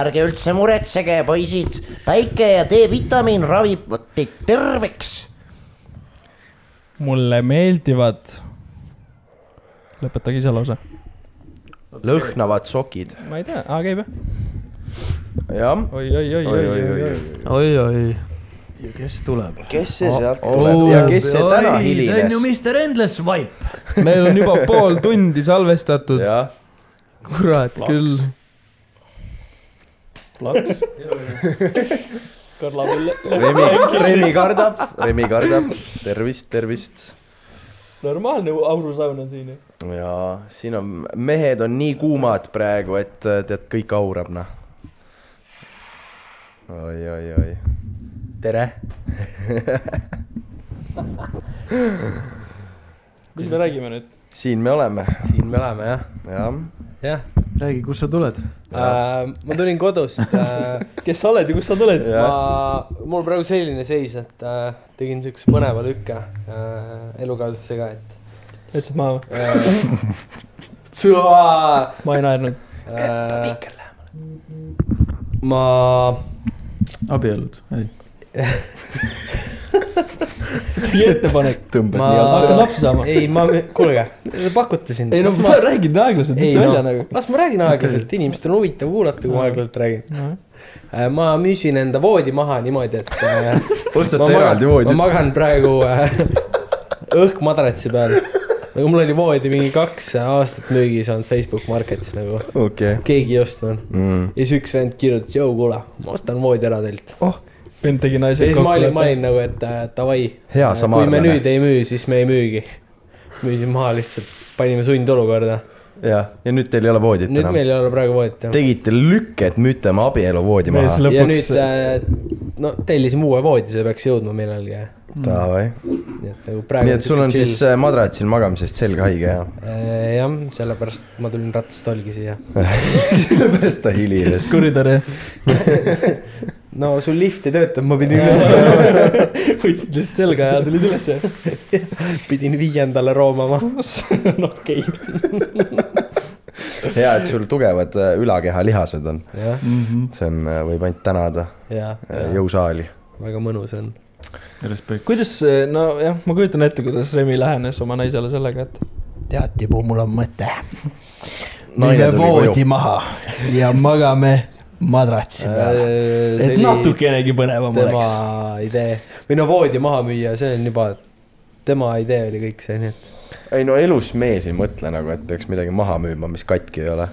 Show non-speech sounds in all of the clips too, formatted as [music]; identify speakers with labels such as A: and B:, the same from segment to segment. A: ärge üldse muretsege , poisid , päike ja D-vitamiin ravivad teid terveks .
B: mulle meeldivad . lõpetage ise lause .
C: lõhnavad sokid ,
B: ma ei tea , aa käib jah ?
C: jah .
B: oi , oi , oi , oi , oi , oi , oi .
D: oi-oi . ja kes tuleb ?
C: kes see sealt tuleb ja kes see täna
D: see on ju
C: hilines ?
D: Mr Endless Vibe .
B: meil on juba pool tundi salvestatud .
C: jah ,
B: kurat küll .
E: [laughs]
F: plaks . Karla Ville ,
C: Remi , Remi kardab , Remi kardab , tervist , tervist .
F: normaalne aurusaun on siin ju .
C: ja siin on , mehed on nii kuumad praegu , et äh, tead , kõik aurab noh . oi , oi , oi . tere .
F: mis me räägime nüüd ?
C: siin me oleme ,
E: siin me oleme jah ,
C: jah .
E: jah
D: räägi , kust sa tuled ?
E: äh, . ma tulin kodust [laughs] äh, ,
F: kes sa oled ja kus sa tuled ?
E: ma , mul praegu selline seis , et äh, tegin siukse põneva lükke äh, elukaaslasega , et
F: jätsid maha või ?
E: äh, . [laughs] Tsua
F: ma ei naernud .
E: äh, . ma
D: abiellud ? ei .
F: tegi ettepanek .
C: tõmbas
E: Ma-
C: nii alt
F: hakkad lapsi saama .
E: ei , ma , kuulge , te pakute siin .
F: ei no sa räägid aeglaselt ,
E: ei
F: mitte välja
E: no
F: nagu .,
E: las ma räägin aeglaselt , inimestel on huvitav kuulata , kui ma aeglaselt räägin . ma müüsin enda voodi maha niimoodi , et äh,
C: [laughs] ostate
E: ma magan
C: eraldi ,
E: ma
C: voodi ?
E: magan praegu äh, [laughs] õhk madratsi peal . nagu mul oli voodi mingi kaks aastat müügis olnud Facebook Marketis nagu ,
C: okei .
E: keegi ei ostnud .
C: Mm.
E: ja siis üks vend kirjutas , jõu , kuule , ma ostan voodi ära teilt .
C: Oh,
B: vend tegi
E: ja
B: naise
E: siis ma olin , ma . olin nagu , et äh, davai .
C: Hea
E: kui me
C: samaarlane.
E: nüüd ei müü , siis me ei müügi . müüsin maha lihtsalt , panime sundolukorda .
C: jah , ja nüüd teil ei ole voodit
E: nüüd
C: enam
E: meil ? ei ole praegu voodit enam .
C: tegite lükke , et müüte oma abieluvoodi
B: mees
C: maha .
E: ja
B: lõpuks
E: nüüd , äh, no tellisime uue voodi , see peaks jõudma millalgi .
C: Davai .
E: nii et nagu praegu .
C: nii et sul on siis äh, madratsil magamisest selg haige [laughs] jah ?
E: Äh, jah , sellepärast ma tulin rattastolgi siia .
C: sellepärast ta hilines .
B: koridori .
E: no sul lift ei töötanud , ma pidin üle ,
F: [laughs]
E: [laughs]
F: võtsid lihtsalt selga ja tulid ülesse .
E: [laughs] pidin viiendale roomama . [laughs]
F: no okei okay. .
C: hea , et sul tugevad äh, ülakehalihased on .
E: jah ,
C: see on , võib ainult tänada
E: ja ,
C: äh, jõusaali .
E: väga mõnus on .
D: Respekt .
B: kuidas , nojah , ma kujutan ette , kuidas Remi lähenes oma naisele sellega , et
D: tead , Tibu , mul on mõte .
C: Naine
D: müüme
C: tuli
D: voodi
C: koju.
D: maha ja magame madratsi peal . et natukenegi põnevam
E: Äh, tema
D: oleks .
E: idee või no voodi maha müüa , see on juba , tema idee oli kõik see , nii et .
C: ei no elus mees ei mõtle nagu , et peaks midagi maha müüma , mis katki ei ole .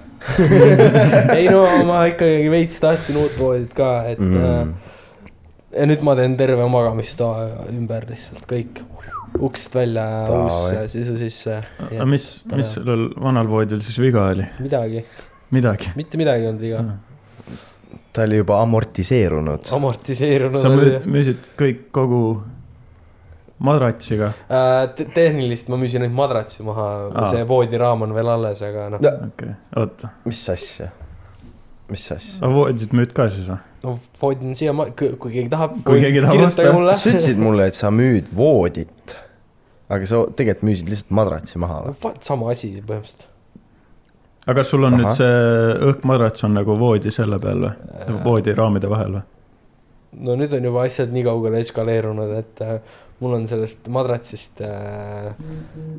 E: ei no ma ikkagi veits tahtsin uut voodit ka , et mm.
C: Mm. .
E: ja nüüd ma teen terve magamistoa ümber lihtsalt kõik , uksest välja ,
C: Davai.
E: uus sisu sisse ,
D: aga mis , mis sellel vanal voodil siis viga oli ?
E: midagi ,
D: midagi ? Hmm.
E: mitte midagi ei olnud viga ,
D: Mm.
C: ta oli juba amortiseerunud .
E: amortiseerunud
D: sa
E: oli
D: müü- . müüsid kõik kogu madratsiga ,
E: Äh, te- tehnilist ma müüsin ainult madratsi maha ,
D: Aa.
E: see voodiraam on veel alles , aga noh
C: Ja. ,
D: okei okay. , oota ,
C: mis asja ? mis asja ?
D: aga voodit müüd ka siis või ?
E: no voodi on siiamaani , kui keegi tahab .
D: Kui keegi tahab osta.
C: sa ütlesid mulle , et sa müüd voodit . aga sa tegelikult müüsid lihtsalt madratsi maha või ?
E: sama asi põhimõtteliselt .
D: aga kas sul on Aha.
C: Ahah.
D: nüüd see õhkmadrats on nagu voodi selle peal või ? voodiraamide vahel või ?
E: no nüüd on juba asjad nii kaugele eskaleerunud , et äh, mul on sellest madratsist äh,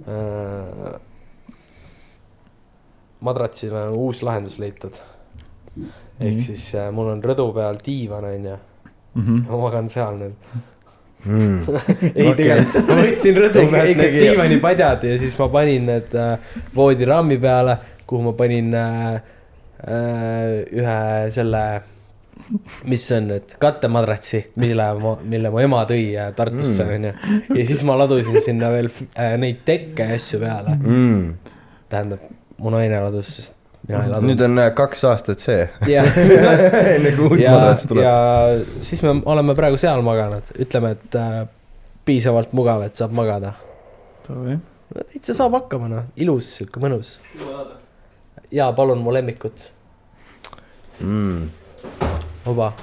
E: äh, . madratsile on uus lahendus leitud . ehk
D: Nii.
E: siis äh, mul on rõdu peal diivan , onju ,
D: Mhm.
E: ma magan seal nüüd .
C: Mm.
E: ei okay. , tegelikult ma võtsin rõdu
C: Ikka-
E: pealt need
C: ikkagi-
E: diivanipadjad ja siis ma panin need äh, voodiraami peale , kuhu ma panin äh, äh, ühe selle , mis see on nüüd , kattemadratsi , mille ma , mille mu ema tõi äh, Tartusse onju mm. . ja siis ma ladusin sinna veel f- äh, neid tekke ja asju peale ,
C: Mm.
E: tähendab mu naine ladus , sest mina ei
C: nüüd
E: ladunud .
C: on äh, kaks aastat see ,
E: jah
C: [laughs] enne kui [laughs] uus
E: ja
C: madrats , tuleb .
E: ja siis me oleme praegu seal maganud , ütleme , et äh, piisavalt mugav , et saab magada . no täitsa saab hakkama noh , ilus , sihuke mõnus . ja palun mu lemmikut ,
C: Mm.
E: oba .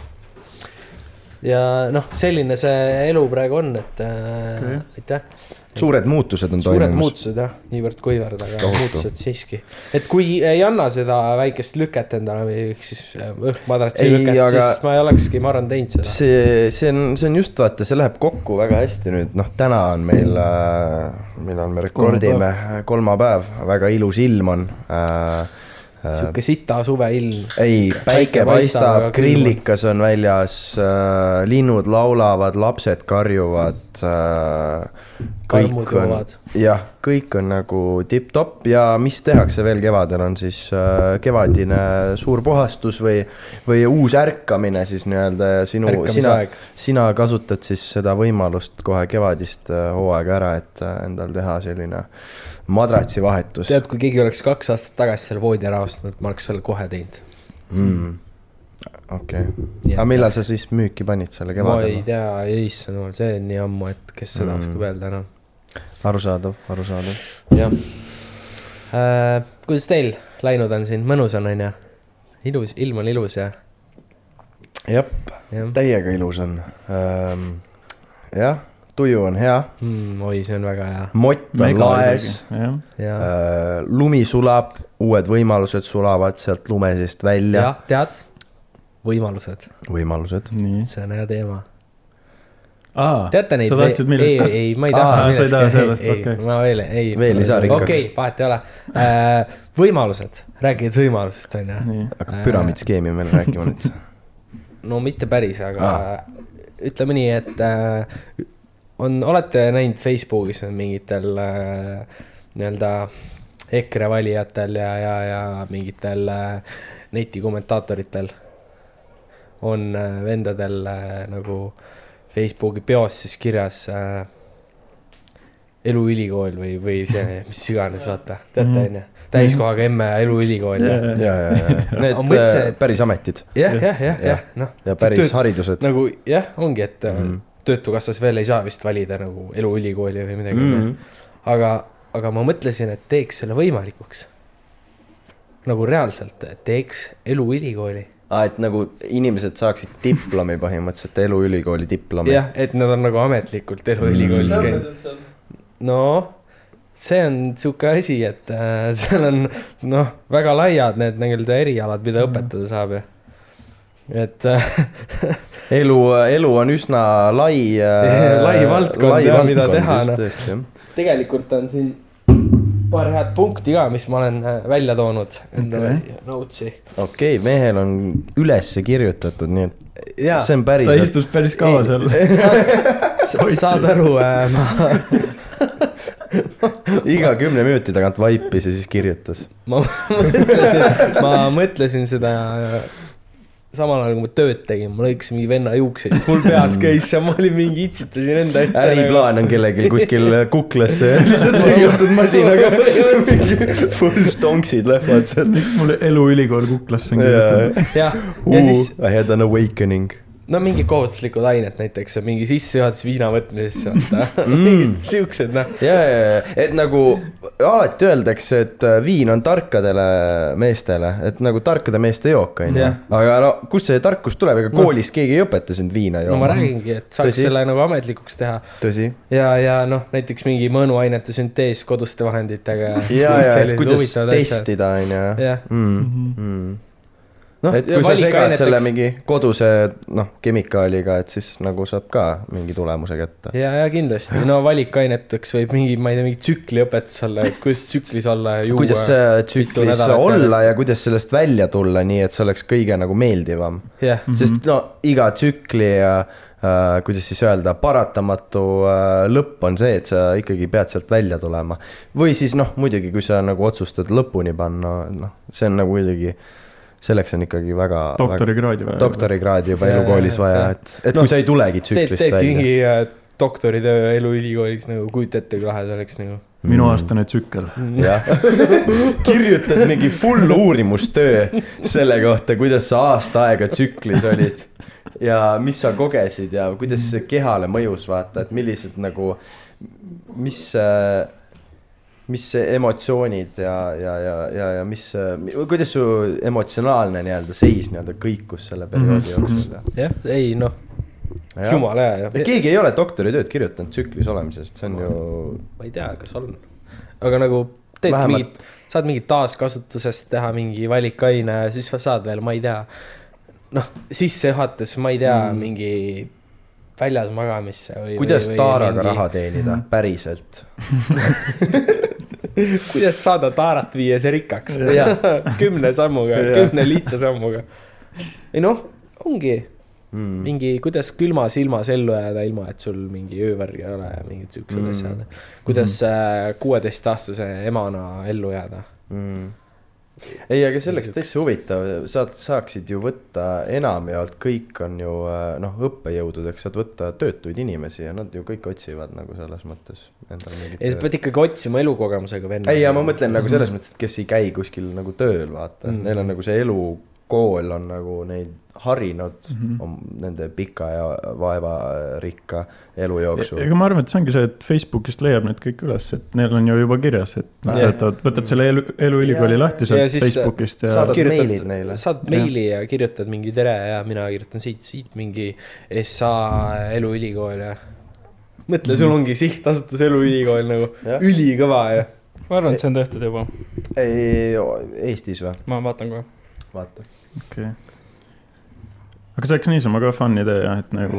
E: ja noh , selline see elu praegu on , et äh,
D: Okei.
E: okay. aitäh .
C: suured muutused on
E: suured
C: toimumas .
E: muutused jah , niivõrd-kuivõrd , aga
C: Tohutu.
E: muutused siiski . et kui ei anna seda väikest lüket endale või ehk siis äh, õhkmadratsi
C: Ei,
E: lüket aga... ,
C: aga-
E: siis ma ei olekski , ma arvan , teinud seda .
C: see , see on , see on just vaata , see läheb kokku väga hästi nüüd , noh , täna on meil äh, , millal me rekordime , kolmapäev , väga ilus ilm on äh, .
E: sihuke sita suveilm .
C: ei , päike paistab , grillikas on väljas äh, , linnud laulavad , lapsed karjuvad äh, .
E: Karmud joovad. .
C: jah , kõik on nagu tipp-topp ja mis tehakse veel kevadel , on siis äh, kevadine suur puhastus või , või uus ärkamine siis nii-öelda ja sinu , sina ,
E: Ärkamisaeg.
C: sina kasutad siis seda võimalust kohe kevadist äh, hooaega ära , et äh, endal teha selline madratsivahetus
E: tead , kui keegi oleks kaks aastat tagasi seal voodi ära ostnud , ma oleks selle kohe teinud .
C: mm. . okei okay. ,
E: Nii et-
C: aga millal sa siis müüki panid selle
E: ma ei
C: kevadel ?
E: tea , issand jumal , see on nii ammu , et kes seda
C: Mm.
E: oskab öelda enam .
C: arusaadav , arusaadav .
E: jah äh, . kuidas teil läinud on siin , mõnus on , on ju ? ilus , ilm on ilus ja ,
C: jah ,
E: jah
C: täiega ilus on ähm, . jah , tuju on hea ,
E: mm, . oi , see on väga hea .
C: mott on laes ,
B: jah ,
E: ja ,
C: äh, lumi sulab , uued võimalused sulavad sealt lume seest välja
E: ja . tead , võimalused ,
C: võimalused .
B: nii .
E: see on hea teema .
B: aa ,
E: teate neid ?
B: sa tahtsid
E: ei ,
B: millest ?
E: ei , ma ei
B: Aa,
E: taha
B: sa ei
E: millestki-
B: taha sellest,
E: ei, ei,
B: okei.
E: ma veel ei .
C: Veel ei saa rikkaks.
E: okei , vahet ei ole äh, . võimalused , rääkides võimalusest on ju .
B: nii ,
C: hakkab püramiidskeemi meil rääkima
E: [laughs]
C: nüüd .
E: no mitte päris , aga ütleme nii , et äh, on , olete näinud Facebookis on mingitel äh, nii-öelda EKRE valijatel ja , ja , ja mingitel äh, netikommentaatoritel on äh, vendadel äh, nagu Facebooki peos siis kirjas äh, eluülikool või , või see , mis iganes , vaata , teate onju , täiskohaga emme eluülikool ja
B: Jajah.
C: ja , ja , ja need
E: Ma mõtlesin,
C: äh,
E: et-
C: päris ametid
E: jah , jah , jah ,
C: Jah.
E: jah , noh .
C: ja päris haridused .
E: nagu jah , ongi , et mm.
C: Mhm.
E: töötukassas veel ei saa vist valida nagu eluülikooli või midagi mm.
C: Mhm. .
E: aga , aga ma mõtlesin , et teeks selle võimalikuks . nagu reaalselt , teeks eluülikooli .
C: aa , et nagu inimesed saaksid diplomi põhimõtteliselt , eluülikooli diplomi .
E: jah , et nad on nagu ametlikult eluülikoolis mm. käinud . no see on sihuke asi , et äh, [laughs] seal on noh , väga laiad need nii-öelda erialad , mida mm. õpetada saab ja et äh,
C: elu , elu on üsna lai äh,
E: Jah, . [laughs] lai valdkond, jah, mida teha, noh.
C: teha .
E: tegelikult on siin paar head punkti ka , mis ma olen äh, välja toonud endale okay. notes'i .
C: okei , mehel on üles kirjutatud , nii et
E: jaa ,
C: see on
B: ta
C: päriselt .
B: istus päris kaua seal .
E: saad aru , ma , [laughs]
C: iga kümne minuti tagant vaipis ja siis kirjutas .
E: [laughs] ma mõtlesin , ma mõtlesin seda äh, samal ajal , kui ma tööd tegin , ma lõikasin mingi venna juukseid , siis mul peas käis see , ma olin mingi , itsitasin enda ette . nagu.
C: äriplaan on kellelgi kuskil äh,
E: [laughs]
C: kuklasse [laughs] lihtsalt leiutud masinaga . Full stonksid lähevad sealt .
B: mul eluülikool kuklasse on kirjutatud .
E: jah , ja siis
C: I had an
E: [laughs]
C: awakening .
E: no mingid kohustuslikud ained näiteks , mingi sissejuhatus viina võtmisesse , vaata .
C: Mm.
E: mingid [laughs] siuksed , noh .
C: ja , ja , ja , et nagu alati öeldakse , et äh, viin on tarkadele meestele , et nagu tarkade meeste jook on ju
E: Jah. .
C: aga no kust see tarkus tuleb , ega koolis keegi ei õpeta sind viina
E: no ma
C: jooma .
E: räägingi , et saaks
C: Tõsi.
E: selle nagu ametlikuks teha [laughs]
C: tõsi .
E: ja , ja noh , näiteks mingi mõõnuainete süntees koduste
C: [laughs]
E: vahenditega .
C: ja , ja , et kuidas . testida on ju .
E: jah ,
C: noh ,
E: Noh,
C: et
E: ja
C: kui sa segad
E: valikaineteks-
C: selle mingi koduse noh , kemikaaliga , et siis nagu saab ka mingi tulemuse kätte .
E: ja , ja kindlasti , no valikaineteks võib mingi , ma ei tea , mingi tsükliõpetus olla , et kuidas tsüklis olla ja juua .
C: kuidas see tsüklis
E: nädalat
C: olla
E: järjest.
C: ja kuidas sellest välja tulla , nii et see oleks kõige nagu meeldivam .
E: jah ,
C: sest no iga tsükli ja äh, kuidas siis öelda , paratamatu äh, lõpp on see , et sa ikkagi pead sealt välja tulema . või siis noh , muidugi , kui sa nagu otsustad lõpuni panna , noh , see on nagu kuidagi , selleks on ikkagi väga .
B: doktorikraadi vaja .
C: doktorikraadi juba
E: Jaa,
C: elukoolis
E: jaa,
C: vaja
E: jaa. ,
C: et , et kui sa ei tulegi
E: teed ,
C: tsüklist
E: teedki
C: välja .
E: mingi äh, doktoritöö eluülikoolis nagu , kujuta ette , kui lahe see oleks nagu .
B: minuaastane tsükkel .
C: jah , [laughs] kirjutad mingi full uurimustöö selle kohta , kuidas sa aasta aega tsüklis olid ja mis sa kogesid ja kuidas see kehale mõjus , vaata , et millised nagu , mis , mis emotsioonid ja , ja , ja , ja , ja mis , kuidas su emotsionaalne nii-öelda seis nii-öelda kõikus selle perioodi jooksul ja
E: jah , ei noh , jumala hea ja
C: ja keegi ei ole doktoritööd kirjutanud tsüklis olemisest , see on ju ,
E: ma ei tea , kas on , aga nagu teed
C: Vähemalt-
E: Vähemalt... mingit , saad mingit taaskasutusest teha mingi valikaine , siis sa saad veel , ma ei tea . noh , sissejuhatus , ma ei tea mm. , mingi väljas magamisse või .
C: kuidas taaraga raha teenida päriselt .
E: kuidas saada taarat viies rikkaks
C: Jah.
E: [laughs] kümne sammuga ,
C: Jah.
E: kümne lihtsa sammuga . ei noh , ongi
C: Mm.
E: mingi , kuidas külmas ilmas ellu jääda , ilma et sul mingi öövärgi ei ole ja mingid siuksed
C: Mm.
E: mm. asjad . kuidas äh, kuueteistaastase äh, emana ellu jääda ?
C: mm. . ei , aga selleks täitsa huvitav , sa saaksid ju võtta enamjaolt kõik on ju äh, noh , õppejõududeks saad võtta töötuid inimesi ja nad ju kõik otsivad nagu selles mõttes endale
E: ei , sa
C: mingit .
E: pead ikkagi otsima elukogemusega venna .
C: Äh. ei , ja ma mõtlen nagu selles mõttes , et kes ei käi kuskil nagu tööl , vaata mm. ,
E: Mm.
C: neil on nagu see elukool on nagu neid harinud mm
G: Mhm.
C: -hmm. nende pika ja vaevarikka elu jooksul .
G: ega ma arvan , et see ongi see , et Facebookist leiab need kõik üles , et neil on ju juba kirjas , et nad
E: Jah.
G: töötavad , võtad selle elu , eluülikooli
E: Jah.
G: lahti
E: Ja
G: sealt
E: siis äh,
G: Facebookist ja
C: saadad
E: kirjutad-
C: meilid neile .
E: saad
G: Jah.
E: meili ja kirjutad mingi tere ja mina kirjutan siit , siit mingi SA eluülikool ja . mõtle ,
C: Mm.
E: sul ongi sihtasutus eluülikool nagu ,
C: Jah.
E: ülikõva ja .
B: ma arvan , et see on tehtud juba ,
C: ei , Eestis või ?
B: ma vaatan kohe .
C: vaata .
G: okei okay. . aga see oleks niisama ka fun idee jah , et nagu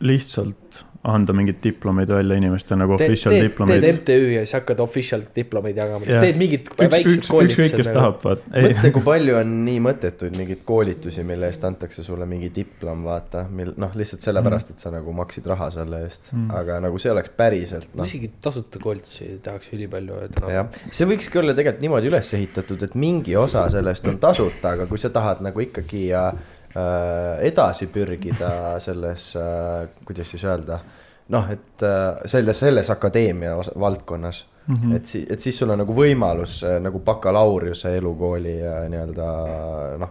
G: lihtsalt anda mingeid diplomeid välja inimeste nagu official
E: teed teed
G: diplomeid .
E: MTÜ ja siis hakkad official diplomeid jagama , siis
G: Jah.
E: teed mingid
G: üks ,
E: väiksed
G: üks , ükskõik kes
E: koolitused nagu .
G: tahab , vaat .
C: mõtle , kui palju on nii mõttetuid mingeid koolitusi , mille eest antakse sulle mingi diplom , vaata , mil noh , lihtsalt sellepärast , et sa nagu maksid raha selle eest mm. , aga nagu see oleks päriselt noh .
E: isegi tasuta koolitusi tehakse ülipalju noh. tänaval .
C: jah , see võikski olla tegelikult niimoodi üles ehitatud , et mingi osa sellest on tasuta , aga kui sa tahad nagu ikkagi ja, äh, edasi pürgida selles äh, , kuidas siis öelda , noh , et äh, selles , selles akadeemia osa, valdkonnas mm ,
G: Mhm.
C: -hmm. et siis , et siis sul on nagu võimalus äh, nagu bakalaureuse elukooli äh, nii-öelda noh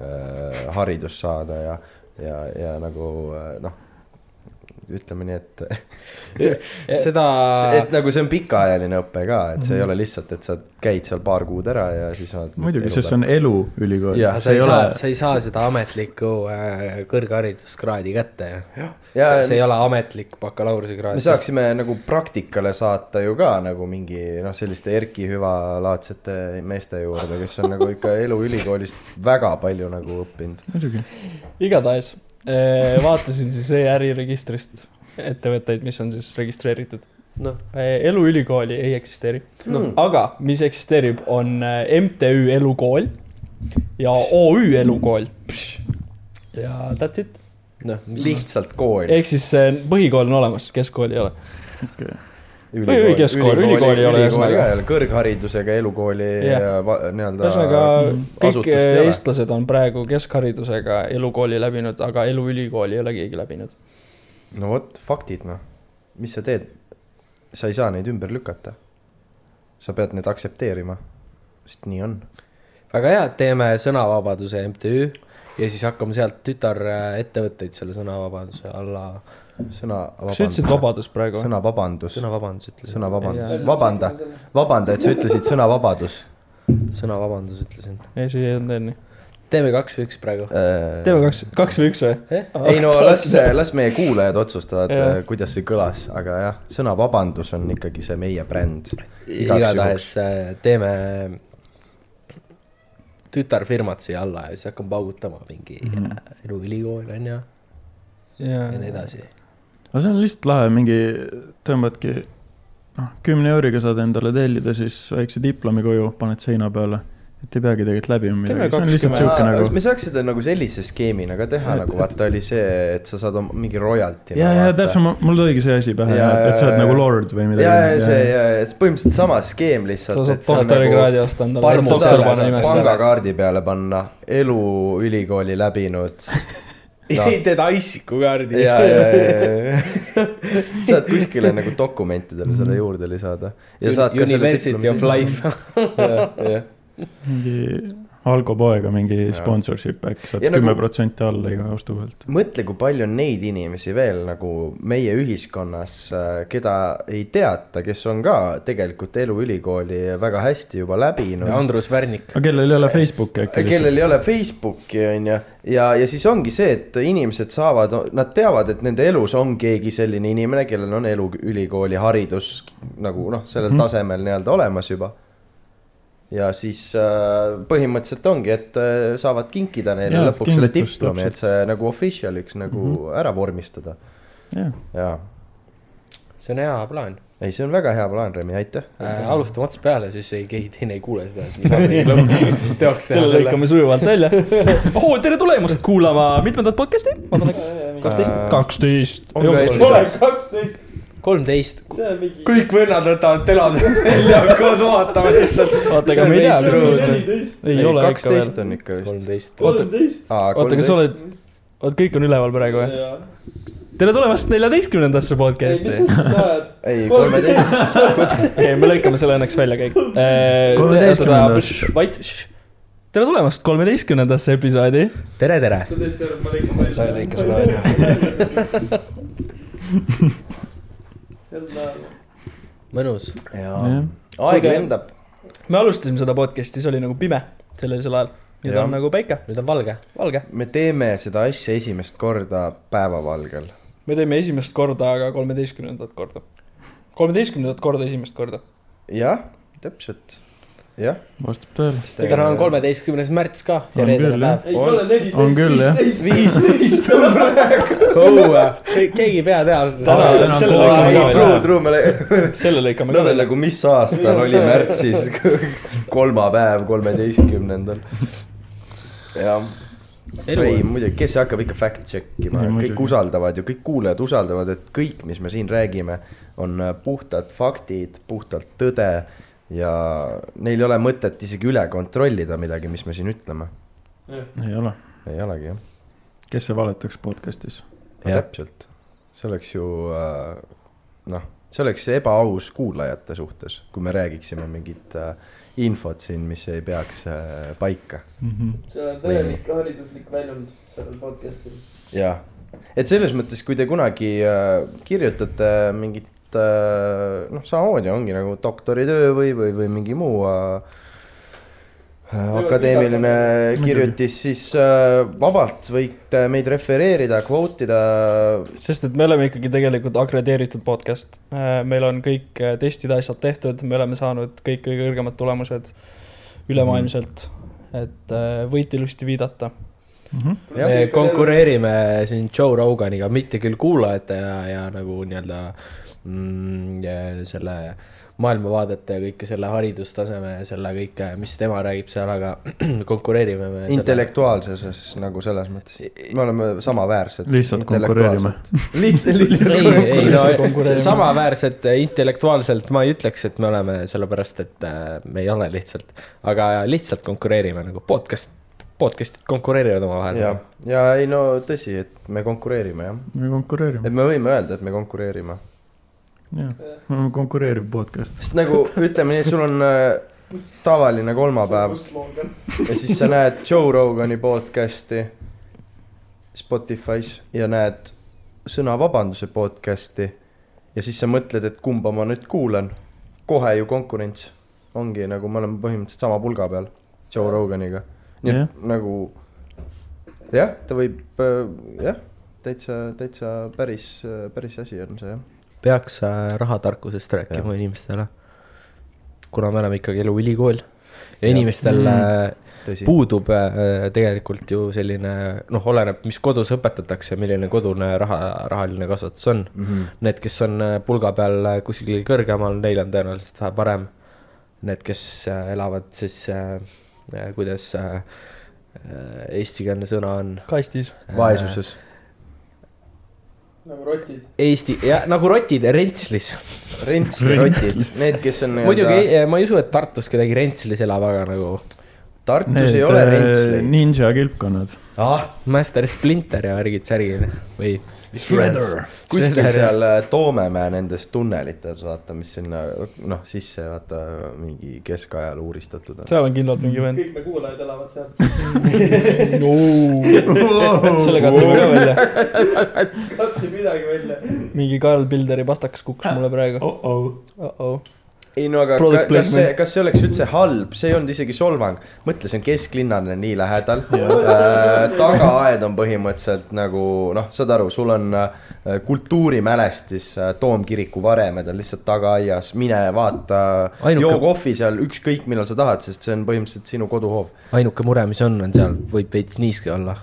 C: äh, , haridust saada ja , ja , ja nagu äh, noh , ütleme nii , et [laughs]
E: seda ,
C: See- et nagu see on pikaajaline õpe ka , et see ei ole lihtsalt , et sa käid seal paar kuud ära ja siis oled .
G: Mhm. muidugi , sest see on eluülikool .
C: Jah,
E: sa
G: see
E: ei
G: ei
E: saa
G: ole ,,
E: sa ei saa seda ametlikku äh, kõrghariduskraadi kätte ju .
C: ja
E: see ei ole ametlik bakalaureusekraad .
C: me saaksime nagu praktikale saata ju ka nagu mingi noh , selliste Erki Hüva laadsete meeste juurde , kes on nagu
G: [laughs]
C: ikka eluülikoolist väga palju nagu õppinud .
G: muidugi .
B: igatahes eh, vaatasin siis e-äriregistrist ettevõtteid , mis on siis registreeritud .
E: Noh. ,
B: eluülikooli ei eksisteeri no. , aga mis eksisteerib , on eh, MTÜ Elukool ja OÜ Elukool . ja that's it ,
E: noh ,
C: lihtsalt kool .
B: ehk siis eh, põhikool on olemas , keskkool ei ole .
C: ülikool ,
B: keskkool, ülikooli ei ole
C: ülikooli
B: ühesõnaga.
C: ka ei ole , kõrgharidusega elukooli
B: Jah.
C: ja va- nii-öelda .
B: ühesõnaga kõik
C: mm-hmm. asutust ei
B: eh,
C: ole.
B: eestlased on praegu keskharidusega elukooli läbinud , aga eluülikooli ei ole keegi läbinud .
C: no vot , faktid noh , mis sa teed , sa ei saa neid ümber lükata . sa pead neid aktsepteerima , sest nii on .
E: väga hea , teeme sõnavabaduse MTÜ ja siis hakkame sealt tütarettevõtteid selle sõnavabaduse alla ,
C: sõna .
B: kas sa ütlesid ? vabadus praegu ?
C: sõna vabandus ,
E: sõnavabandus ütlesin sõna... ,
C: sõna vabandus , vabanda , vabanda , et sa ütlesid sõna vabadus .
E: sõnavabandus ütlesin .
B: ei , see ei olnud enne .
E: teeme kaks või üks praegu . Eh?
B: teeme kaks , kaks või üks või ?
C: Äh, ei no las , [laughs] las meie kuulajad otsustavad
B: Jah. ,
C: kuidas see kõlas , aga jah , sõna vabandus on ikkagi see meie bränd .
E: igatahes . äh, teeme tütarfirmad siia alla ja siis hakkame paugutama mingi
G: Mhm.
E: mm -hmm. eluülikool on ju
B: ja
E: ja nii edasi .
G: aga see on lihtsalt lahe , mingi tõmbadki , noh , kümne euriga saad endale tellida siis väikse diplomi koju , paned seina peale . et ei peagi tegelikult läbima
B: Teeme
G: midagi , see on lihtsalt
B: 20
G: sihuke
C: Nagu... me
G: nagu .
C: saaks seda nagu sellise skeemina ka teha , nagu vaata oli see , et sa saad oma mingi royalty .
G: ja , ja täpselt , mul tuligi see asi pähe
C: Ja, ,
G: et sa
C: ja,
G: oled nagu
C: ja.
G: lord või midagi .
C: ja , ja see , ja , et põhimõtteliselt sama skeem lihtsalt .
B: sa saad doktorikraadi osta endale , saad
C: Parmu nagu- saad
B: doktor panna nimesse ära .
C: pangakaardi peale panna , eluülikooli läbinud . No.
E: teed ICE-ku kaardi
C: ja , [laughs] ja , ja , ja , saad kuskile nagu dokumentidele
B: Mhm.
C: selle juurde lisada . [laughs]
E: University of . Life .
C: jah , jah ,
G: mingi alkopoega mingi sponsorship , äkki saad
C: Ja nagu-
G: kümme protsenti alla iga ostu pealt .
C: mõtle , kui palju on neid inimesi veel nagu meie ühiskonnas , keda ei teata , kes on ka tegelikult eluülikooli väga hästi juba läbinud .
E: Andrus Värnik .
G: aga kellel ei ole Facebooki äkki
C: Äh, kellel ei ole Facebooki , on ju , ja , ja siis ongi see , et inimesed saavad , nad teavad , et nende elus on keegi selline inimene , kellel on eluülikooli haridus nagu noh , sellel tasemel nii-öelda olemas juba . ja siis äh, põhimõtteliselt ongi , et äh, saavad kinkida neile
G: Jaa,
C: lõpuks selle
G: kingitus,
C: diplomi , et
G: täpselt.
C: see nagu official'iks nagu mm -hmm. ära vormistada
G: Jah.
C: ja
E: see on hea plaan
C: ei , see on väga hea plaan , Remi , aitäh .
E: äh, . alustame ots peale , siis ei , keegi teine ei kuule seda , siis me
C: [laughs]
E: saame lõpuks teoks teha
B: selle lõikame sujuvalt välja . oo , tere tulemast kuulama mitmendat podcast'i . kaksteist .
G: kaksteist .
C: Äh, on ka Eestis ,
F: kaksteist .
E: kolmteist .
F: kõik vennad võtavad telad välja , hakkavad vaatama lihtsalt .
B: oota , aga me ei tea . ei ole ikka veel .
C: kaksteist on ikka vist .
E: kolmteist .
B: oota , oota , kas sa ? oled , oot , kõik on üleval praegu või ? tere tulemast neljateistkümnendasse podcast'i .
C: ei , kolmeteist .
B: ei , me lõikame selle õnneks välja kõik . Äh,
G: Kolmeteistkümnendas.
B: vait . tere tulemast kolmeteistkümnendasse episoodi .
E: tere , tere .
D: sa ei lõika seda välja .
C: [laughs]
E: mõnus .
C: jaa , aeg
B: Kuulge-
C: lendab .
B: me alustasime seda podcast'i , see oli nagu pime sellisel ajal . nüüd
C: Jah.
B: on nagu päike ,
E: nüüd on valge .
B: valge .
C: me teeme seda asja esimest korda päevavalgel .
B: me teeme esimest korda , aga kolmeteistkümnendat korda . kolmeteistkümnendat korda esimest korda .
C: jah , täpselt , jah .
G: vastab tõele .
E: täna on . kolmeteistkümnes märts ka ja
G: On
E: reedene
G: küll, jah.
E: päev .
G: on küll jah .
C: viisteist on praegu .
E: keegi ei pea teha seda .
B: täna ,
G: täna on
B: selle
G: kogu aeg
B: lõikame
C: ei ,
B: ka
C: true ,
B: ära ,
C: true , me lä-
B: selle lõikame ka
C: Nad on
B: ära .
C: nagu , mis aastal oli märtsis [laughs] kolmapäev , kolmeteistkümnendal . jah . ei muidugi , kes hakkab ikka fact check ima
G: Ei, , muidugi.
C: kõik usaldavad ju , kõik kuulajad usaldavad , et kõik , mis me siin räägime , on äh, puhtad faktid , puhtalt tõde ja neil ei ole mõtet isegi üle kontrollida midagi , mis me siin ütleme .
G: ei ole ,
C: ei olegi jah
G: kes see valetaks podcast'is ?
C: ja. . täpselt , see oleks ju äh, noh , see oleks ebaaus kuulajate suhtes , kui me räägiksime mingit äh, infot siin , mis ei peaks äh, paika .
F: seal on
C: täielik
F: hariduslik väljund sellel podcast'il .
C: jah , et selles mõttes , kui te kunagi äh, kirjutate mingit äh, noh , samamoodi ongi nagu doktoritöö või , või , või mingi muu äh, akadeemiline kirjutis , siis äh, vabalt võite meid refereerida , kvootida
B: sest et me oleme ikkagi tegelikult akrediteeritud podcast . meil on kõik äh, testid , asjad tehtud , me oleme saanud kõik kõige kõrgemad tulemused ülemaailmselt . et äh, võite ilusti viidata .
G: Mhm.
C: Jah.
E: me konkureerime siin Joe Roganiga , mitte küll kuulajate ja , ja nagu nii-öelda mm, ja selle maailmavaadete ja kõike selle haridustaseme ja selle kõike , mis tema räägib seal , aga [clears throat] konkureerime me .
C: intellektuaalsuses nagu selles mõttes , me oleme samaväärsed .
G: Lihtsalt konkureerime. .
E: [laughs]
C: lihtsalt , lihtsalt
E: ei , ei
C: konkureerime .
E: no samaväärsed intellektuaalselt ma ei ütleks , et me oleme , sellepärast et äh, me ei ole lihtsalt , aga lihtsalt konkureerime nagu podcast , podcast'id konkureerivad
C: ja
E: omavahel .,
C: ja ei no tõsi , et me konkureerime jah ,
G: me konkureerime ,
C: et me võime öelda , et me konkureerime ,
G: jah . me oleme konkureeriv podcast .
C: sest nagu ütleme nii , sul on äh, tavaline kolmapäev ja siis sa näed Joe Rogani podcast'i Spotify's ja näed sõnavabanduse podcast'i ja siis sa mõtled , et kumba ma nüüd kuulan . kohe ju konkurents ongi nagu me oleme põhimõtteliselt sama pulga peal Joe Roganiga . nii et
G: Jah.
C: nagu jah , ta võib äh, jah , täitsa , täitsa päris , päris asi on see jah .
E: peaks äh, rahatarkusest rääkima inimestele . kuna me oleme ikkagi eluülikool ja inimestel mm.
C: tõsi .
E: puudub äh, tegelikult ju selline noh , oleneb , mis kodus õpetatakse , milline kodune raha , rahaline kasvatus on mm . -hmm. Need , kes on äh, pulga peal äh, kuskil kõrgemal , neil on tõenäoliselt vähe parem . Need , kes äh, elavad siis äh, , äh, kuidas äh, äh, eestikeelne sõna on ,
B: kastis .
C: vaesuses .
F: nagu rotid .
E: Eesti , nagu rotid , rentslis
C: rentsid , rotid , need , kes on
E: eh, muidugi ei- ma ei usu , et Tartus kedagi Rentslis elab , aga nagu
C: Tartus
G: Need
C: Need, ei ole
G: äh,
C: rentsleid nii... .
G: ninja kilpkonnad .
C: ah ,
E: Master Splinter ja värgid särgid või .
G: Shredder .
C: kuskil
E: Selle-
C: seal äh, Toomemäe nendes tunnelites , vaata , mis sinna noh , sisse vaata mingi keskajal uuristatud on .
B: seal on kindlalt mingi vend .
F: kõik me kuulajad elavad seal .
B: [laughs]
F: [laughs]
B: selle kattame ka välja .
F: katsi midagi välja .
B: mingi Karl Bilderi pastakas kukkus mulle praegu .
G: oh-oh .
B: Uh-oh.
C: ei no aga
B: Product
C: ka, kas see
B: placement. ,
C: kas see oleks üldse halb , see ei olnud isegi solvang . mõtle , see on kesklinnale nii lähedal . tagaaed on põhimõtteliselt nagu noh , saad aru , sul on äh, kultuurimälestis äh, Toomkiriku varemed on lihtsalt tagaaias , mine vaata
E: Ainuke-
C: Ainuke... , joo kohvi seal ükskõik millal sa tahad , sest see on põhimõtteliselt sinu koduhoov .
E: ainuke mure , mis on , on seal võib veits niiske olla .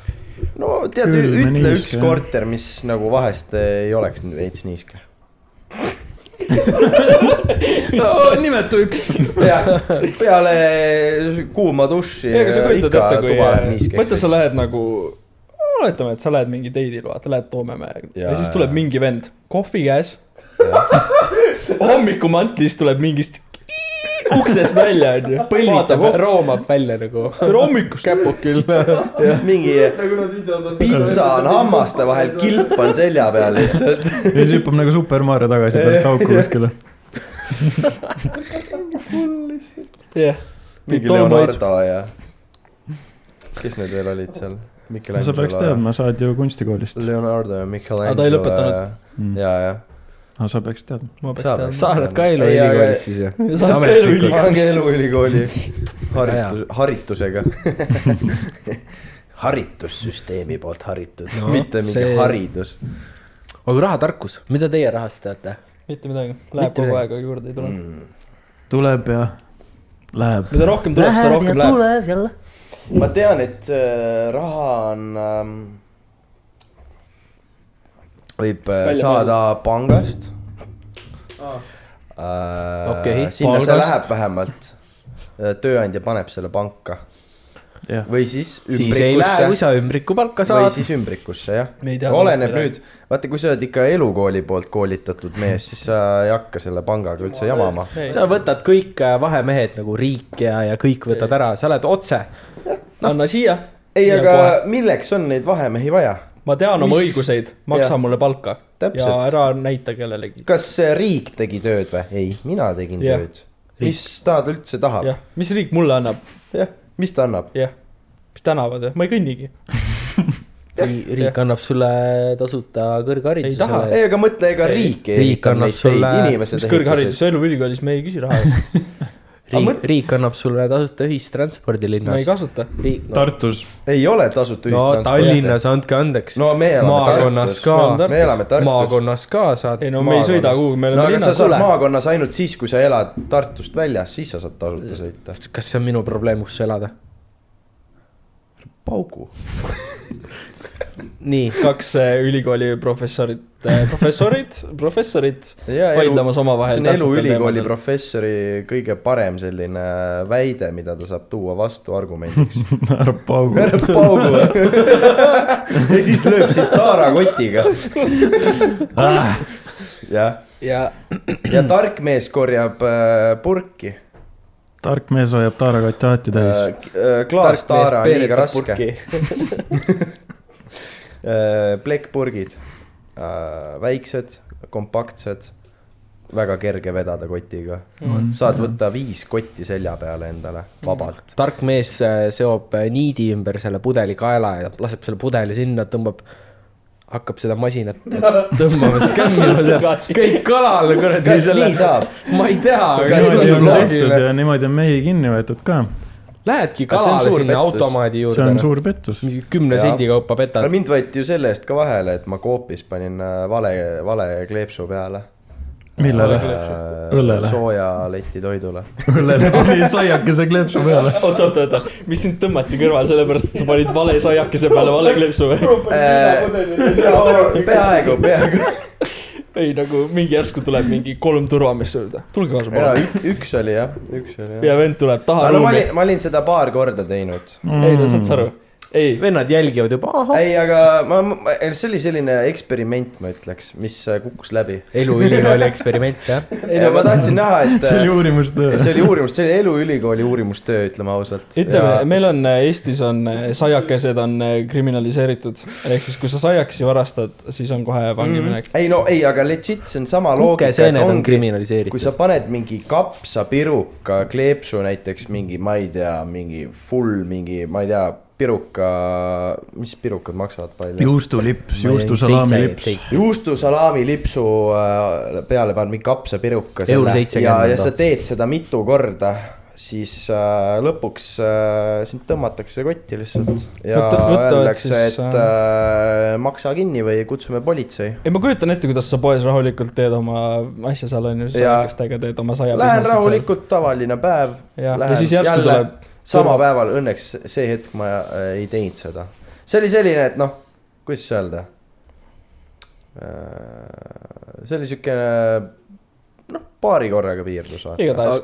C: no tead ,
G: Külm ja
C: ütle
G: niiske,
C: üks
G: jah.
C: korter , mis nagu vahest ei oleks nii- veits niiske .
G: nimetu üks .
E: [laughs]
C: peale kuuma duši .
B: ei , aga sa kujutad ette , kui , mõtle , sa lähed nagu , oletame , et sa lähed mingi date'il , vaata , lähed Toomemäe ja, ja
C: Jaa,
B: siis tuleb
C: jaa.
B: mingi vend , kohvi käes . [laughs] hommikumantlis tuleb mingist uksest välja ,
C: [laughs]
B: onju . vaatab ,
E: roomab välja nagu .
B: tere hommikust . käpuk külge .
C: [laughs] mingi
F: nagu nad videod on .
C: pitsa on hammaste vahel ,. kilp on selja
F: [laughs]
C: peal lihtsalt .
G: ja siis hüppab nagu Super Mario tagasi pealt kauku kuskile .
B: [laughs] jah ,
C: mingi
B: Tolmu
C: Leonardo ja . kes need veel olid seal ?
G: sa peaks teadma , sa oled ju kunstikoolist .
C: Leonardo ja Michelangelo .
B: Aga ta ei lõpetanud. .
C: ja , ja .
G: aga sa peaksid teadma .
B: ma peaks
C: Saab.
B: teadma .
E: sa oled ka Elu
C: Ei, aga-
E: ülikoolis siis ju ?
B: [laughs] sa oled ka eluüli .
C: Angeeluülikooli
E: Ah,
C: haritus
E: jaa. ,
C: haritusega . haritussüsteemi poolt haritud
E: No,
C: no, , mitte mingi
E: see-
C: see... haridus .
E: aga rahatarkus , mida teie rahast teate ?
B: mitte midagi , läheb
E: Mitte
B: kogu
E: midagi.
B: aeg , aga juurde ei tule .
C: Mm.
G: tuleb ja läheb .
B: mida rohkem tuleb , seda rohkem läheb .
A: tuleb jälle .
C: ma tean , et äh, raha on ähm, , võib äh,
B: Välja
C: saada pangast
F: Aa.
C: äh, .
E: Okei,
C: sinna see
E: palgast.
C: läheb vähemalt . tööandja paneb selle panka
G: jah ,
C: või siis
E: siis ei lähe , kui
C: ümbrikusse
E: sa ümbrikupalka
C: või
E: saad .
C: siis ümbrikusse jah
B: Me ei tea, .
C: oleneb
B: millest me
C: nüüd , vaata , kui sa oled ikka elukooli poolt koolitatud mees , siis sa ei hakka selle pangaga üldse jamama .
E: sa võtad kõik äh, vahemehed nagu riik ja , ja kõik võtad ära , sa oled otse .
B: anna
C: Noh.
B: siia .
C: ei , aga milleks on neid vahemehi vaja ?
B: ma tean oma
C: Mis-
B: õiguseid , maksa
C: Jah.
B: mulle palka
C: Täpselt.
B: ja ära näita kellelegi .
C: kas see riik tegi tööd või ? ei , mina tegin
B: Jah.
C: yeah. tööd . mis ta üldse tahab ?
B: jah , mis riik mulle annab ,
C: jah , mis ta annab ?
B: jah , mis tänavad , ma ei kõnnigi .
E: riik annab sulle tasuta kõrghariduse .
B: Ei taha.
C: ei , aga mõtle , ega riik ei
E: riik annab sulle-
C: inimesed
B: mis . kõrgharidus , Eluülikoolis me ei küsi
C: [laughs]
B: raha ,
E: riik , riik annab sulle tasuta
B: ma
E: ühistranspordi
B: ei
E: linnas .
B: kasuta .
E: riik , no,
G: Tartus .
C: ei ole tasuta
E: no Tallinnas , andke andeks no, .
C: no me elame
E: maakonnas ka
C: Tartus ., me elame Tartus .
E: maakonnas ka saad
B: ei . no me ei sõida
C: Maakonnas.
B: kuhugi , me
C: no
B: oleme
C: aga sa
B: linnas .
C: saad
E: kuule. maakonnas
C: maakonnas ainult siis , kui sa elad Tartust väljas , siis sa saad tasuta sõita .
E: kas see on minu probleem , kus elada ?
C: paugu .
E: nii ,
B: kaks äh, ülikooli professorit , professorid ,
C: [laughs]
B: professorid vaidlemas
C: see
B: omavahel .
C: on eluülikooli . professori kõige parem selline väide , mida ta saab tuua
E: [laughs]
C: vastuargumendiks .
G: [laughs] ära paugu .
C: paugu . [laughs] ja siis lööb sind taarakotiga .
G: Ah,
C: jah ,
E: ja
C: ja tark mees korjab äh, purki . Äh,
G: tark mees hoiab taarakotti alati täis .
C: klaastaara on liiga raske .. Äh, plekkpurgid , väiksed , kompaktsed , väga kerge vedada kotiga .
B: Mm.
C: saad
G: Mm-hmm.
C: võtta viis kotti selja peale endale vabalt .
E: tark mees äh, seob äh, niidi ümber selle pudeli kaela ja laseb selle pudeli sinna , tõmbab , hakkab seda
C: [laughs]
E: masinat tõmbama , siis kämmima seal , kõik kalale kuradi
C: kas nii saab ?
E: ma ei tea , aga
C: Kas
G: niimoodi
C: nii
G: on
C: saab?
G: tehtud ja niimoodi on mehi kinni võetud ka .
E: Lähedki
C: Kas see on
E: kalale
C: suur
E: sinna
C: pettus?
E: automaadi
G: see on
E: juurde .
G: suur pettus .
E: mingi kümne
C: Jaa.
E: sendi kaupa petad
C: no . mind võeti ju selle eest ka vahele , et ma Coopis panin äh, vale , vale kleepsu peale .
G: millele ? [laughs] Õllele.
C: soojaleti toidule .
G: õllele pani saiakese kleepsu peale .
B: oota , oota , oota , mis sind tõmmati kõrvale sellepärast , et sa panid vale saiakese peale vale kleepsu või ?
C: [laughs] Äh, peaaegu , peaaegu .
B: [laughs] ei nagu mingi järsku tuleb mingi kolm turvameest juurde , tulge kaasa palun .
C: üks oli jah , üks oli jah .
B: ja vend tuleb taha
C: aga no ma
B: ruumi .
C: olin , ma olin seda paar korda teinud .
G: Mm.
B: ei no saad sa aru , ei ,
E: vennad jälgivad juba , ahah ,
C: ei , aga ma, ma , see oli selline eksperiment , ma ütleks , mis äh, kukkus läbi .
E: eluülikooli eksperiment jah .
C: ei no ma tahtsin näha , et
G: Mm. see oli
C: äh,
G: uurimustöö .
C: [laughs] see oli uurimus , see oli eluülikooli uurimustöö , ütleme ausalt .
B: ütleme , meil on äh, Eestis on äh, saiakesed on äh, kriminaliseeritud , ehk siis kui sa saiaksi varastad , siis on kohe
C: Mm.
B: vangiminek .
C: ei no ei , aga legit , see on sama loogika , et
E: kukeseened on
C: ongi , kui
E: kriminaliseeritud .
C: sa paned mingi kapsapiruka kleepsu näiteks mingi , ma ei tea , mingi full mingi , ma ei tea , piruka , mis pirukad maksavad palju ?
G: juustulips , juustusalami-lips .
C: juustusalami lipsu äh, peale paned mingi kapsapiruka .
E: Euro
C: ja ,
E: seitsekümmend
C: ja
E: on
C: sa
E: ta.
C: teed seda mitu korda , siis äh, lõpuks äh, sind tõmmatakse kotti lihtsalt . ja
B: Võta- võtavad
C: öeldakse ,
B: siis,
C: et äh, maksa kinni või kutsume politsei .
B: ei , ma kujutan ette , kuidas sa poes rahulikult teed oma asja seal on ju ,
C: Jaa.
B: saiakestega teed oma saia .
C: Lähen . rahulikult , tavaline päev .
B: ja , ja siis järsku jälle. tuleb .
C: sama
B: tuleb-
C: päeval õnneks see hetk ma äh, ei teinud seda . see oli selline , et noh , kuidas öelda . see oli siukene , noh , paari korraga piirdus vaata .
B: igatahes ,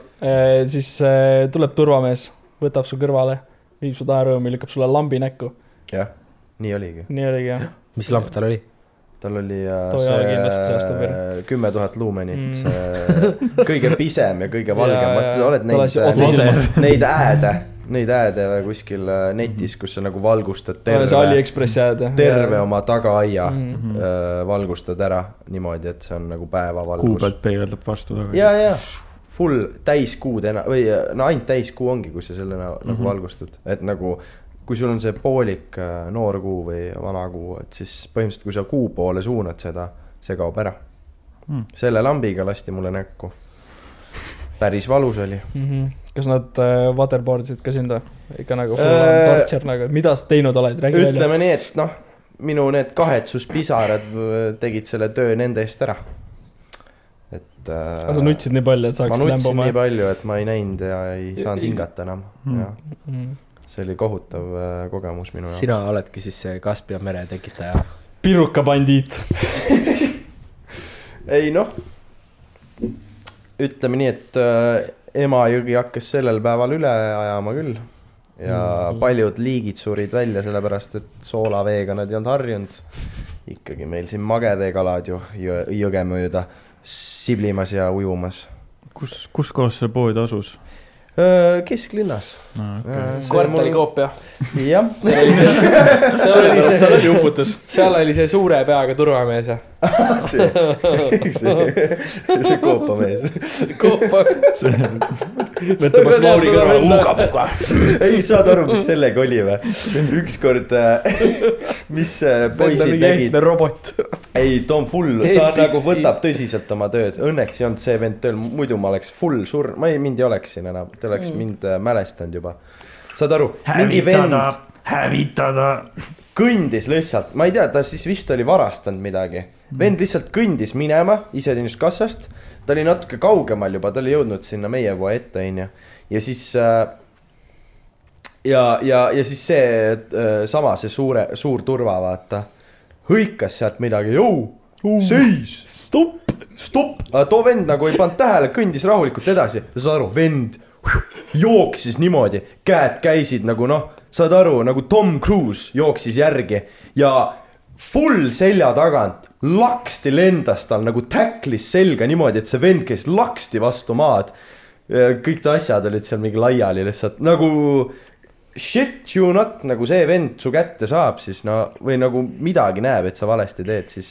B: siis äh, tuleb turvamees , võtab su kõrvale , viib su taerõõmi , lükkab sulle lambi näkku ,
C: jah , nii oligi .
B: nii oligi jah .
E: mis lamp tal oli ?
C: tal oli
B: Too
C: äh,
B: ei ole kindlasti see aasta
C: see kümme tuhat luumenit
B: Mm.
C: mm. , kõige pisem ja kõige valgem ,
B: [laughs] Jaa,
C: vaata
B: jaa.
C: oled
B: Ta lasi otse
C: näinud
B: silma. ,
C: neid hääde , neid hääde kuskil äh, netis , kus sa nagu valgustad
B: olen see
C: terve ,
B: Aliekspress jääd .
C: terve . oma tagaaia mm.
G: Mhm.
B: Mm.
C: äh, valgustad ära niimoodi , et see on nagu
G: kuu
C: päevavalgus .
G: pealt peegeldab vastu tagasi .
C: ja , ja full täiskuu täna või äh, no ainult täiskuu ongi , kui sa selle nagu mm
G: Mhm.
C: -hmm. valgustad , et nagu . kui sul on see poolik äh, noor kuu või vana kuu , et siis põhimõtteliselt , kui sa kuu poole suunad seda , see kaob ära
G: Mm.
C: mm. . selle lambiga lasti mulle näkku . päris valus oli .
B: Mhm. kas nad äh, waterboard isid ka sind või ? ikka nagu full on
C: Äh,
B: torture nagu , mida sa teinud oled , räägi välja .
C: ütleme nii , et noh , minu need kahetsuspisarad äh, tegid selle töö nende eest ära . et äh,
B: sa nutsid nii palju , et
C: ma
B: saaksid
C: nutsin
B: lämbuma
C: nii . palju , et ma ei näinud ja ei saanud hingata enam
G: Mm.
B: Hmm.
C: mm. , jah . see oli kohutav äh, kogemus minu jaoks .
E: sina oledki siis see Kaspia mere tekitaja .
B: pirukabandiit .
C: ei noh , ütleme nii , et äh, Emajõgi hakkas sellel päeval üle ajama küll ja mm. paljud liigid surid välja , sellepärast et soolaveega nad ei olnud harjunud . ikkagi meil siin mageveekalad ju jõ- jõge mööda siblimas ja ujumas .
G: kus , kus kohas see pood asus ?
C: Äh, kesklinnas .
F: kvartalikoop jah .
C: jah , see oli
E: [laughs]
F: seal oli see ,
B: seal oli uputus .
F: seal oli see suure peaga turvamees ja .
C: see , [laughs] see , see koopamees .
F: võtame siis Lauri kõrvale , huugab .
C: [laughs] ei , saad aru , mis sellega oli või ? ükskord äh, , [laughs] mis äh, poisid tegid ,
F: robot .
C: [laughs] ei Tom Full , ta
F: NPC.
C: nagu võtab tõsiselt oma tööd , õnneks ei olnud see vend tööl , muidu ma oleks full surnud , ma ei , mind ei oleks siin enam , ta
G: Mm.
C: oleks mind äh, mälestanud juba . saad aru , mingi vend
G: hävitada , hävitada .
C: kõndis lihtsalt , ma ei tea , ta siis vist oli varastanud midagi .
G: Mm.
C: vend lihtsalt kõndis minema iseteeninduskassast , ta oli natuke kaugemal juba , ta oli jõudnud sinna meie poe ette , onju . ja siis äh, ja , ja , ja siis see äh, sama , see suure , suur turva , vaata , hõikas sealt midagi , jõu , seis , stopp , stopp . aga too vend nagu ei pannud tähele , kõndis rahulikult edasi , saad aru , vend jooksis niimoodi , käed käisid nagu noh , saad aru , nagu Tom Cruise jooksis järgi ja full selja tagant laksti lendas tal nagu täklis selga niimoodi , et see vend käis laksti vastu maad . kõik ta asjad olid seal mingi laiali lihtsalt nagu shit you not , nagu see vend su kätte saab , siis no või nagu midagi näeb , et sa valesti teed , siis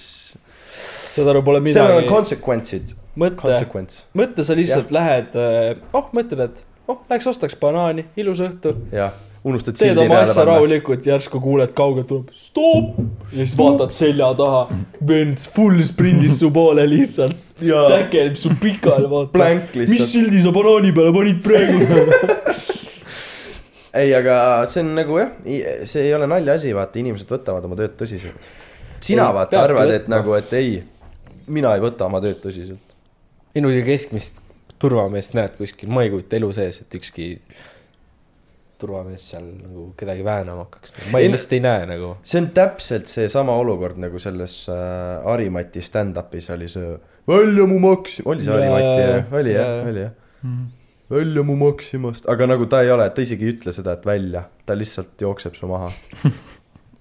B: saad aru , pole
C: sellel on
B: midagi .
C: consequence'id ,
B: mõtle ,
C: consequence ,
B: mõtle , sa lihtsalt lähed , oh , mõtled , et oh , läheks ostaks banaani , ilus õhtu .
C: jah , unustad .
B: teed oma asja . rahulikult , järsku kuuled kaugelt tuleb stopp ja siis vaatad selja taha , vend full sprindis su poole
F: [laughs]
B: lihtsalt ,
C: jaa ,
B: täkeleb su pikali , vaata .
C: blank lihtsalt .
B: mis sildi sa banaani peale panid
F: [laughs]
B: praegu ?
C: ei , aga see on nagu jah , see ei ole naljaasi , vaata , inimesed võtavad oma tööd tõsiselt . sina
E: Ei,
C: ei, vaata
E: peabki
C: arvad , et
E: võtma.
C: nagu , et ei , mina ei võta oma tööd tõsiselt .
E: ilusi keskmist turvameest näed kuskil , ma ei kujuta elu sees , et ükski turvamees seal nagu kedagi väänama hakkaks . ma
C: Ei,
E: ei,
C: no-
E: lihtsalt ei näe nagu .
C: see on täpselt seesama olukord nagu selles äh, Harimati stand-up'is oli see välja mu maks , oli see
B: Jaa,
C: Harimati
B: jaa, Mhm.
C: jah , oli jah
B: jaa. ,
C: oli jah . välja mu Maximast , aga nagu ta ei ole , ta isegi ei ütle seda , et välja , ta lihtsalt jookseb su
B: [laughs]
C: maha .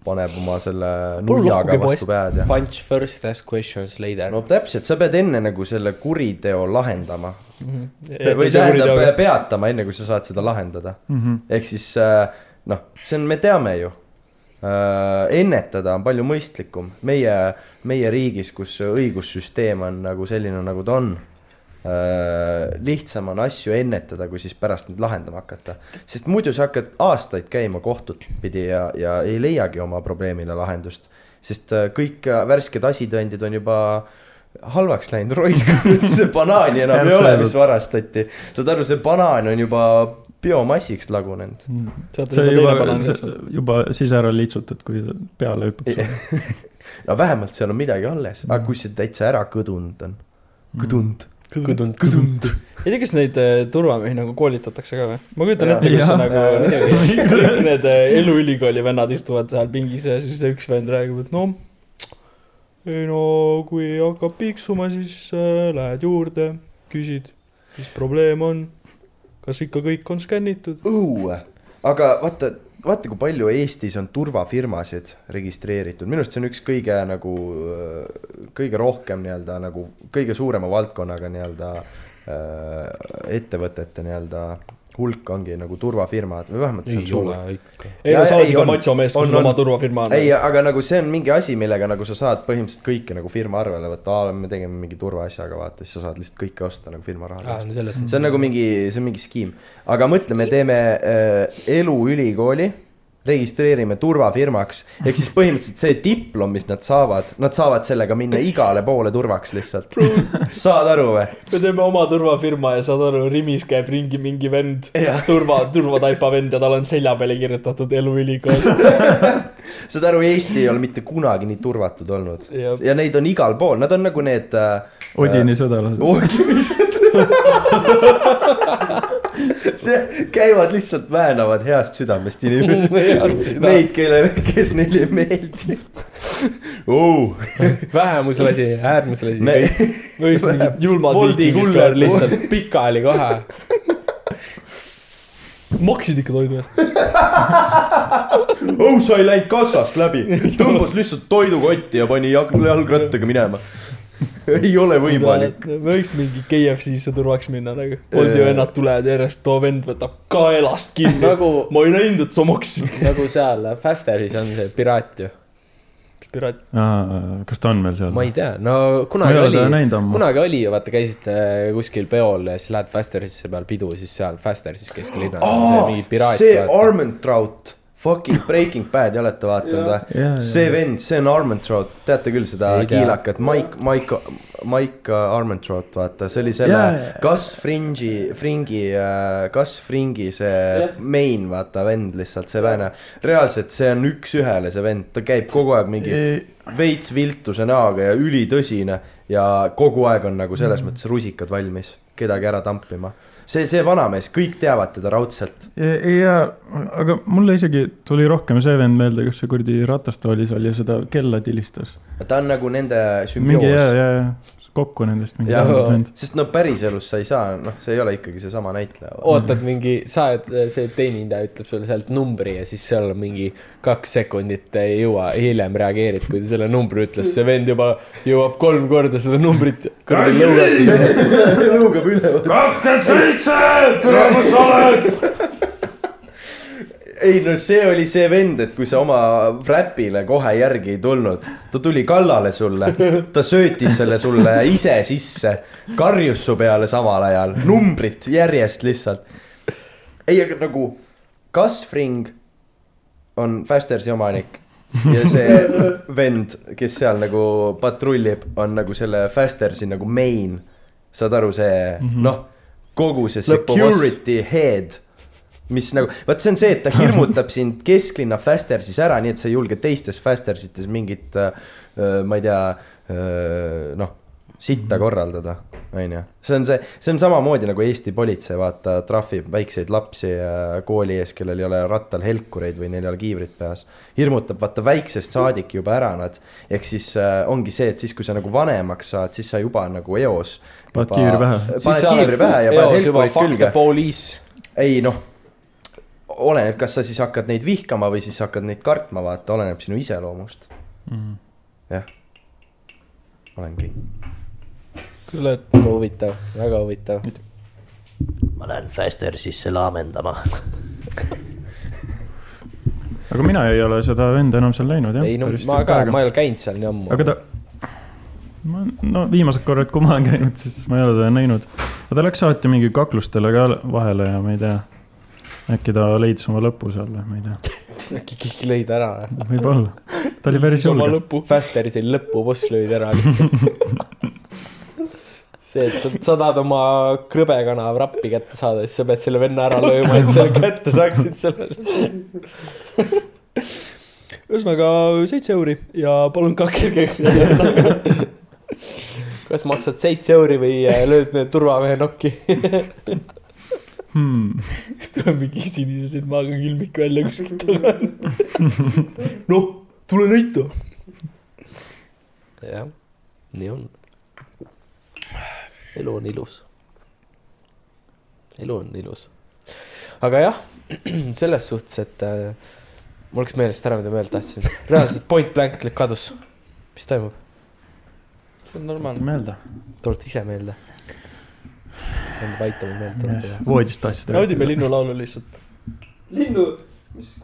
C: paneb oma selle nuiaga
D: lahkuge
C: vastu päed ja .
E: Punch first , ask questions later
C: no täpselt , sa pead enne nagu selle kuriteo lahendama või tähendab
F: eh,
B: -hmm. .
C: peatama , enne kui sa saad seda lahendada .
G: mhmh ,
C: ehk siis äh, noh , see on , me teame ju . ennetada on palju mõistlikum meie , meie riigis , kus õigussüsteem on nagu selline , nagu ta on . lihtsam on asju ennetada , kui siis pärast neid lahendama hakata , sest muidu sa hakkad aastaid käima kohtut pidi ja , ja ei leiagi oma probleemile lahendust . sest äh, kõik äh, värsked asitõendid on juba halvaks läinud , [laughs] roiskanud , see banaani enam ei ole , mis varastati . saad aru , see banaan on juba biomassiks lagunenud .
G: see juba , juba siis ära liitsutad , kui ta peale hüppab .
C: [laughs] no vähemalt seal on midagi alles , aga kui see täitsa ära kõdunud on ,
G: Mm.
C: kõdunud .
E: Kõdunud.
C: kõdunud .
B: ei tea , kas neid eh, turvamehi nagu koolitatakse ka või ? ma kujutan
C: Jaa.
B: ette , kus see
G: Jaa.
B: nagu
C: [laughs]
B: niimoodi- kõik need eh, eluülikooli vennad istuvad seal pingis ja siis see üks vend räägib , et no ei no kui hakkab piiksuma , siis äh, lähed juurde , küsid , mis probleem on , kas ikka kõik on skännitud .
C: õue , aga vaata , vaata , kui palju Eestis on turvafirmasid registreeritud , minu arust see on üks kõige nagu , kõige rohkem nii-öelda nagu kõige suurema valdkonnaga nii-öelda äh, ettevõtete nii-öelda hulk ongi nagu turvafirmad või vähemalt see on suur .
B: ei
C: Jaa,
B: no sa oled
C: ei,
B: ikka
C: on.
B: machomees ,
C: On,
B: kui sul
C: on.
B: oma turvafirma on .
C: ei , aga nagu see on mingi asi , millega nagu sa saad põhimõtteliselt kõike nagu firma arvele võtta , aa , me tegime mingi turvaasjaga , vaata , siis sa saad lihtsalt kõike osta nagu firma raha eest .
E: ah, . no selles
C: see on nagu
E: [laughs]
C: mingi , see on mingi skeem , aga mõtle , me teeme äh, eluülikooli , registreerime turvafirmaks , ehk siis põhimõtteliselt see diplom , mis nad saavad , nad saavad sellega minna igale poole turvaks lihtsalt . saad aru või ?
B: me teeme oma turvafirma ja saad aru , Rimis käib ringi mingi vend , turva , turvataipa vend ja tal on selja peale kirjutatud eluülikool .
C: saad aru , Eesti ei ole mitte kunagi nii turvatud olnud
B: Jah.
C: ja neid on igal pool , nad on nagu need äh,
G: Mhm. Odini sõdalased .
C: see , käivad lihtsalt väänavad heast südamest [laughs] inimesi , neid , kelle , kes neile ei meeldi oh. .
E: vähemusel asi , äärmusel asi .
B: või mingid julmad
E: Bolti
B: viikingid
E: kuller
B: peavad lihtsalt .
E: lihtsalt pikali kohe .
B: maksid ikka toidu eest ?
C: oh , sa ei läinud kassast läbi , tõmbas lihtsalt toidukotti ja pani jalg , jalgrattaga minema . ei ole võimalik .
B: võiks mingi KFC-sse turvaks minna nagu . Bolti vennad tulevad järjest , too vend võtab kaelast kinni nagu... .
E: nagu ,
B: ma ei näinud , et sa maksid .
E: nagu seal Fäfferis on see piraat ju .
B: piraat ,
G: kas ta on veel seal ?
E: ma ei tea , no
G: ma ei
E: kunagi
G: ole
E: oli
G: teda , näinud ammu .
E: kunagi oli ju , vaata , käisite äh, kuskil peol ja siis lähed Fäfferisse peal pidu , siis seal Fäfferis kesklinnas on see mingi piraat .
C: see Armentrout , fucking Breaking Bad , ja olete vaadanud või
G: Jaa, ?
C: see vend , see on Armentrout , teate küll seda
E: Ei tea.
C: kiilakat , Mike , Mike , Mike Armentrout , vaata , see oli
G: Jaa,
C: selle
G: jaa.
C: Gus Fringe'i , Fringe'i , Gus Fringe'i äh, see main , vaata , vend lihtsalt , see vene . reaalselt see on üks-ühele see vend , ta käib kogu aeg mingi veits viltuse näoga ja ülitõsine ja kogu aeg on nagu selles mõttes rusikad valmis kedagi ära tampima . see , see vanamees , kõik teavad teda raudselt .
G: ja , aga mulle isegi tuli rohkem see vend meelde , kes see kuradi ratastoolis oli , seda kella tilistas .
C: ta on nagu nende
G: mingi ja ,
C: sümbioos .
G: ja , ja kokku nendest mingi
C: Jah.
G: teadnud vend .
C: sest no päriselus sa ei saa , noh , see ei ole ikkagi seesama näitleja .
E: ootad mingi , sa oled , see teenindaja ütleb sulle sealt numbri ja siis seal on mingi kaks sekundit ei jõua , hiljem reageerid , kui ta selle numbri ütles , see vend juba jõuab kolm korda seda numbrit .
C: lõugab üle .
F: kakskümmend seitse , tere , kus sa oled ?
C: ei no see oli see vend , et kui sa oma räpile kohe järgi ei tulnud , ta tuli kallale sulle , ta söötis selle sulle ise sisse , karjus su peale samal ajal , numbrit järjest lihtsalt . ei , aga nagu Kasfring on Fastersi omanik ja see vend , kes seal nagu patrullib , on nagu selle Fastersi nagu main , saad aru , see noh , kogu see
E: Lõpuboss.
C: security head mis nagu , vot see on see , et
G: [laughs]
C: ta hirmutab sind kesklinna Fastersis ära , nii et äh, sa ei julge teistes Fastersites mingit äh, , ma ei tea , noh ,
G: Mhm.
C: sitta korraldada , onju . see on see , see on samamoodi nagu Eesti politsei , vaata , trahvib väikseid lapsi äh, kooli ees , kellel ei ole rattal helkureid või neil ei ole kiivrit peas . hirmutab vaata väiksest saadik juba ära nad , ehk siis äh, ongi see , et siis , kui sa nagu vanemaks saad , siis sa juba nagu eos .
G: Paned kiivri pähe.
C: paned kiivri pähe ja paned helkurid külge .
E: police .
C: ei noh , oleneb , kas sa siis hakkad neid vihkama või siis hakkad neid kartma , vaata , oleneb sinu iseloomust ,
G: mm. .
C: olengi .
B: küll , et
E: huvitav , väga huvitav .
A: ma lähen Fästersisse laamendama .
G: aga mina ei ole seda venda enam seal näinud jah .
E: ei no ma ka , ma ei ole käinud seal nii ammu .
G: aga ta , ma , no viimased korrad , kui ma olen käinud , siis ma ei ole teda näinud . aga ta läks alati mingi kaklustele ka vahele ja ma ei tea , äkki ta leidis oma lõpu seal või ma ei tea ,
E: äkki kõik lõid ära .
G: võib-olla . ta oli päris
B: oma
G: julge .
B: lõpu .
E: Fasteri siin lõpuboss lõid ära lihtsalt see , et sa, sa tahad oma krõbekana rappi kätte saada , siis sa pead selle venna ära lööma , et selle kätte saaksid selle .
B: ühesõnaga seitse euri ja palun kake kõik .
E: kas maksad seitse euri või äh, lööd need turvamehe nokki ? [laughs]
G: Hmm.
B: [laughs] siis tuleb mingi sinise silmaga külmik välja kuskilt [laughs] taga . noh , tule näita .
E: jah , nii on . elu on ilus . elu on ilus . aga jah , [clears throat] selles suhtes , et äh, mul läks meelest ära , mida ma öelda tahtsin . reaalselt point blank kadus . mis toimub ?
B: see on normaalne .
G: meelde ,
E: tulete ise meelde ? pean vaitama meelt tuletada .
G: voodist tahtsid
B: naudime . linnulaulu lihtsalt .
F: linnu .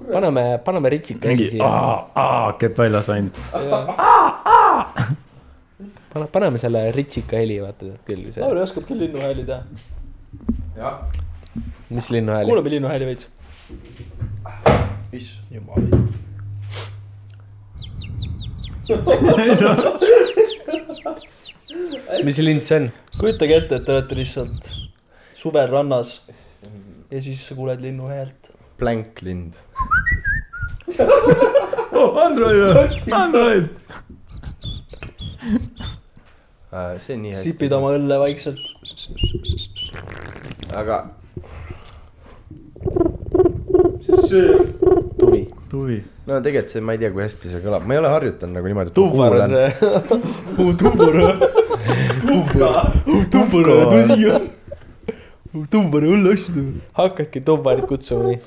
E: paneme , paneme ritsika
G: mingi ah.
E: ringi siia .
G: aa , aa , käib väljas ainult .
E: pane , paneme selle ritsika heli , vaata tead küll see ,
B: Lauri oskab küll linnuhääli teha .
E: mis linnuhääli .
B: kuulame linnuhääli veits .
E: mis lind see on ?
B: [laughs] kujutage ette , et te olete lihtsalt suvel rannas ja siis sa kuuled linnu häält .
C: plänklind .
G: Oh, Android , Android .
C: Äh, see on nii
B: sipid oma õlle vaikselt .
C: aga
E: tuvi .
G: tuvi .
C: no tegelikult see , ma ei tea , kui hästi see kõlab , ma ei ole harjutanud nagu niimoodi .
B: Tuvvar on . tumbur , tumbur , tõsi jah . tumbur õlleasju .
E: [laughs] hakkadki tubarit kutsuma nii .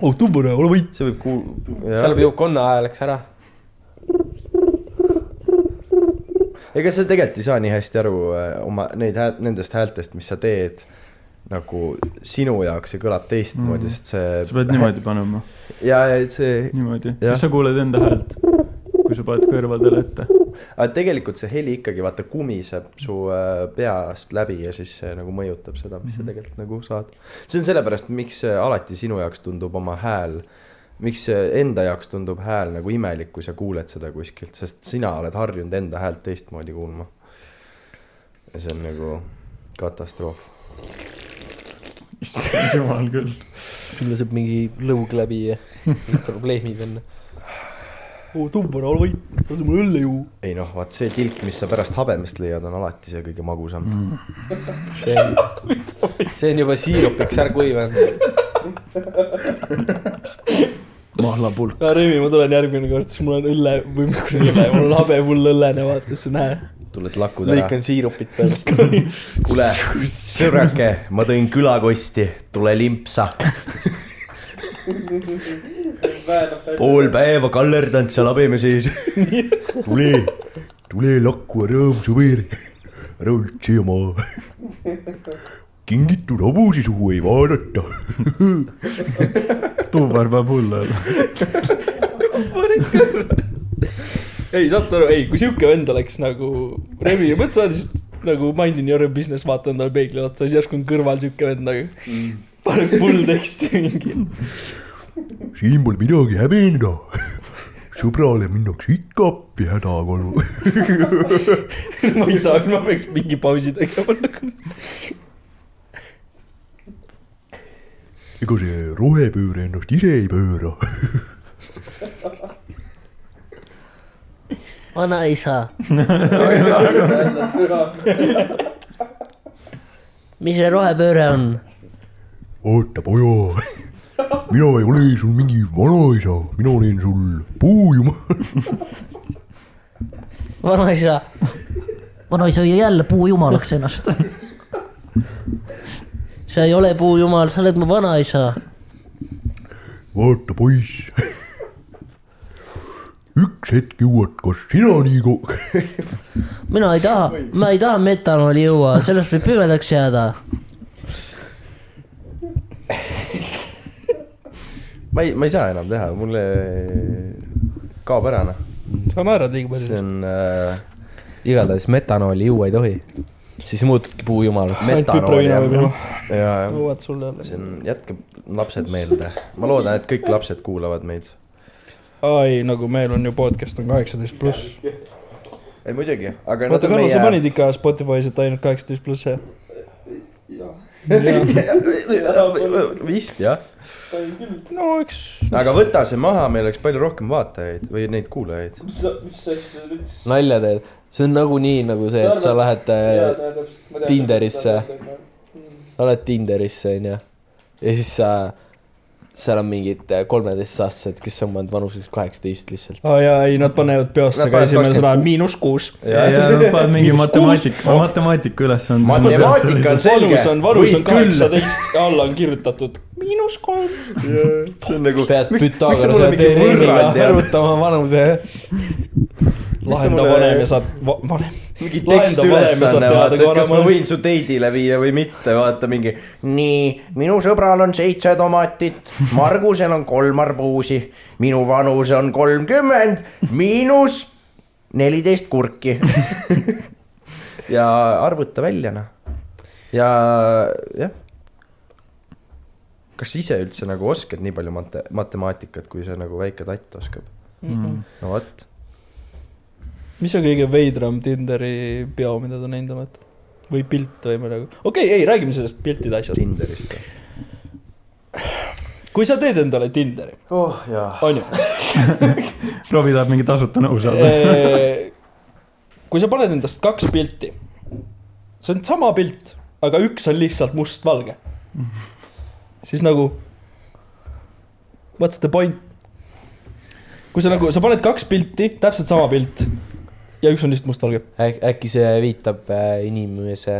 B: oh tumbur , ole võit .
C: see võib kuul- ,
E: seal
C: jah ,
E: jõukonna hääl läks ära
C: ega sa tegelikult ei saa nii hästi aru äh, oma neid hääl- , nendest häältest , mis sa teed nagu sinu jaoks see kõlab teistmoodi
G: Mhm.
C: mm. , sest see .
G: sa pead . niimoodi panema ,
C: ja , ja see ,
G: niimoodi ,
C: Jah.
G: siis sa kuuled enda häält , kui sa paned kõrvadele ette .
C: aga tegelikult see heli ikkagi vaata kumiseb su äh, peast läbi ja siis see nagu mõjutab seda , mis sa tegelikult nagu saad . see on sellepärast , miks äh, alati sinu jaoks tundub oma hääl , miks äh, enda jaoks tundub hääl nagu imelik , kui sa kuuled seda kuskilt , sest sina oled harjunud enda häält teistmoodi kuulma . ja see on nagu katastroof .
G: jumal küll .
E: sul laseb mingi lõug läbi ja probleemid on .
B: oh tumbur , ole võit , lase mulle õlle ju .
C: ei noh , vaat see tilk , mis sa pärast habemest leiad , on alati see kõige magusam mm. .
E: see on , see on juba siirupiks ära kuivanud .
G: mahlapulk .
B: Remi , ma tulen järgmine kord , siis mul on õlle või kuradi õlle , mul on habe hull õllene , vaata , siis on hää .
C: tuled lakud ära .
E: lõikan siirupit pärast .
C: kuule , sõbrake , ma tõin külakosti , tule limpsa . pool päeva kallerdanud seal habeme sees . tule , tule lakku , rõõmsu veer , ära üldse jama . kingitud hobusi suhu ei vaadata .
G: tuubar peab hull olema .
B: ei , saad sa aru , ei , kui sihuke vend oleks nagu Remi ja Põtsa , siis nagu minding your own business , vaata endale peegli otsa , siis järsku on kõrval sihuke vend nagu mm. . paneb full teksti mingi .
H: siin pole midagi häbeneda . [laughs] sõbrale minnakse ikka appi hädakorra .
B: ma ei saa , ma peaks mingi pausi tegema nagu .
H: ega see rohepööre ennast ise ei pööra .
A: vanaisa , mis see rohepööre on ?
H: oota poja , mina ei ole sul mingi vanaisa , mina olen sul puujumal .
A: vanaisa , vanaisa hoia jälle puujumalaks ennast . sa ei ole puujumal , sa oled mu vanaisa .
H: vaata poiss , üks hetk jõuad ka sina nii kaugele .
A: mina ei taha , ma ei taha metanooli juua , sellest võib pimedaks jääda .
C: ma ei , ma ei saa enam teha , mulle kaob ära noh ,
B: sa naerad liiga palju
C: see . on äh,
E: igatahes metanooli juua ei tohi . siis muutudki puujumalaks .
B: ainult
C: metanool
B: pipraviina
C: jah ,
B: võib-olla .
C: ja
B: jõuad sul jälle
C: see . on , jätkab lapsed meelde , ma loodan , et kõik lapsed kuulavad meid .
B: ai , nagu meil on ju podcast on kaheksateist pluss .
C: ei muidugi , aga
B: oota , Karl , sa
C: [laughs]
B: panid ikka Spotify's , et ainult kaheksateist pluss , jah ?
C: vist jah ,
B: no eks
C: aga võta see maha , meil oleks palju rohkem vaatajaid või neid kuulajaid .
E: nalja teed , see on nagunii nagu see , et sa lähed äh, Tinderisse , oled Tinderisse onju ja siis sa , seal on mingid kolmeteistaastased , kes on pannud vanuseks kaheksateist lihtsalt .
B: aa oh, jaa , ei nad panevad peosse
C: Nad
B: ka
C: panevad
B: esimene
C: 20.
B: sõna miinus kuus .
G: ja , ja nad panevad mingi matemaatika , matemaatika ülesande .
C: matemaatika on selge .
B: vanus on , vanus on . kaheksateist , alla on kirjutatud miinus kolm .
C: see on nagu ,
E: pead
C: miks , miks sa
E: Pythagorase
C: mulle mingi
E: teoreemiga
C: võrrand ja
E: arvutama vanuse .
B: lahenda
C: mulle-
B: vanem ja saad va, , vanem .
C: mingi
B: Lahenda vanem,
C: tekstiülesanne ,
B: saad
C: vaata ,
B: teada,
C: et kas ma
B: vanem.
C: võin su teidile viia või mitte , vaata mingi .
A: nii , minu sõbral on seitse tomatit , Margusel on kolm arbuusi , minu vanus on kolmkümmend miinus neliteist kurki .
C: [laughs] ja arvuta välja noh . ja jah . kas sa ise üldse nagu oskad nii palju mate- , matemaatikat , kui see nagu väike tatt oskab ? no vot ,
B: mis on kõige veidram Tinderi peo , mida te näinud olete ? või pilt või midagi , okei okay, , ei räägime sellest piltide asjast .
C: Tinderist .
B: kui sa teed endale Tinderi ,
C: oh jaa .
B: onju ,
G: Robbie tahab mingi tasuta nõu saada .
B: Äh, kui sa paned endast kaks pilti , see on sama pilt , aga üks on lihtsalt mustvalge , siis nagu what's the point ? kui sa nagu , sa paned kaks pilti , täpselt sama pilt ja üks on lihtsalt mustvalge ,
E: äkki see viitab äh, inimese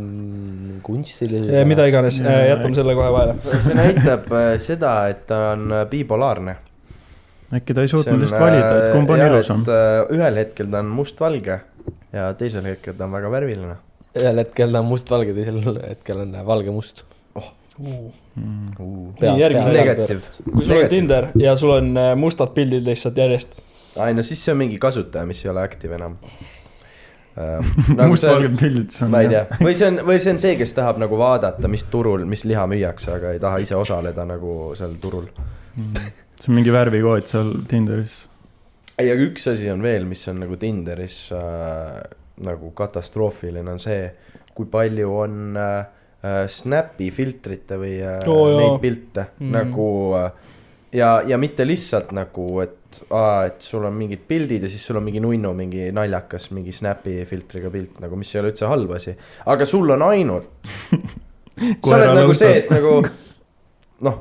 E: mm, kunstilisele .
B: Äh, mida iganes , jätame selle kohe vahele .
C: see näitab äh, seda , et ta on äh, bipolaarne .
G: äkki ta ei suutnud just valida , et
C: äh,
G: kumb on ilusam .
C: ühel hetkel ta on mustvalge ja teisel hetkel ta on väga värviline .
E: ühel hetkel ta on mustvalge , teisel hetkel on valge-must .
B: Nii, järgmine
C: negatiiv .
B: kui sul on Tinder ja sul on äh, mustad pildid lihtsalt järjest ,
C: ai no siis see on mingi kasutaja , mis ei ole active enam Ähm, nagu see on-
G: mustvalged pildid , see on .
C: [laughs] ma ei tea , või see on , või see on see , kes tahab nagu vaadata , mis turul , mis liha müüakse , aga ei taha ise osaleda nagu seal turul .
G: Mm. see on mingi värvikood seal Tinderis .
C: ei , aga üks asi on veel , mis on nagu Tinderis äh, nagu katastroofiline , on see , kui palju on äh, äh, Snapi filtrite või äh,
B: Oo, jaa.
C: neid pilte mm.
B: Mhm.
C: nagu äh, ja , ja mitte lihtsalt nagu , et aa , et sul on mingid pildid ja siis sul on mingi nunnu , mingi naljakas , mingi Snapi filtriga pilt nagu , mis ei ole üldse halb asi , aga sul on ainult sa oled
G: Koerale
C: nagu see ,
G: õhtul.
C: et nagu noh ,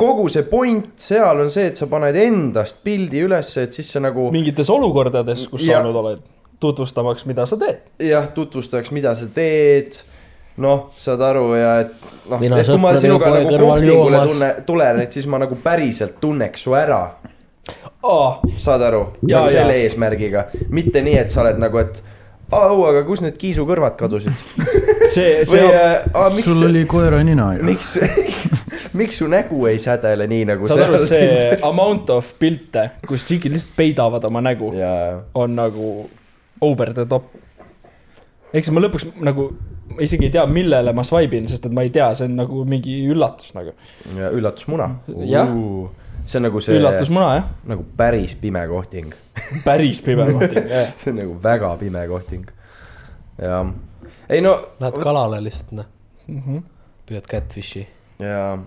C: kogu see point seal on see , et sa paned endast pildi ülesse , et siis sa nagu
B: mingites olukordades , kus
C: Ja.
B: sa olnud oled , tutvustamaks , mida sa teed .
C: jah , tutvustaks , mida sa teed . noh , saad aru ja et noh ,
A: Mina
C: et kui ma
A: sõpradega
C: sinuga
A: kohe
C: nagu
A: kõrval
C: kohtingule
A: joomas.
C: tunne , tulen , et siis ma nagu päriselt tunneks su ära ,
B: aa ,
C: saad aru ,
B: Jaa,
C: nagu selle
B: jaa.
C: eesmärgiga , mitte nii , et sa oled nagu , et au , aga kus need kiisukõrvad kadusid
B: [laughs] see ,
C: või
B: see on ,
C: äh, aa, miks
G: sul , oli koera nina ju .
C: [laughs] miks , [laughs] miks su nägu ei sädele nii nagu
B: saad aru ,
C: seal- [laughs]
B: see amount of pilte , kus tšikid lihtsalt peidavad oma nägu ,
C: jaa
B: on nagu over the top . eks ma lõpuks nagu , ma isegi ei tea , millele ma swipe in , sest et ma ei tea , see on nagu mingi üllatus nagu .
C: ja üllatusmuna .
B: Jah. .
C: see on nagu see Üllatus...
B: üllatusmuna jah ,
C: nagu päris pime kohting ,
B: päris pime
C: [laughs]
B: koht ikka .
C: see on nagu väga pime kohting . ja ei no
E: Lähed kalale lihtsalt noh ,
B: Mm -hmm.
E: püüad catfish'i .
C: ja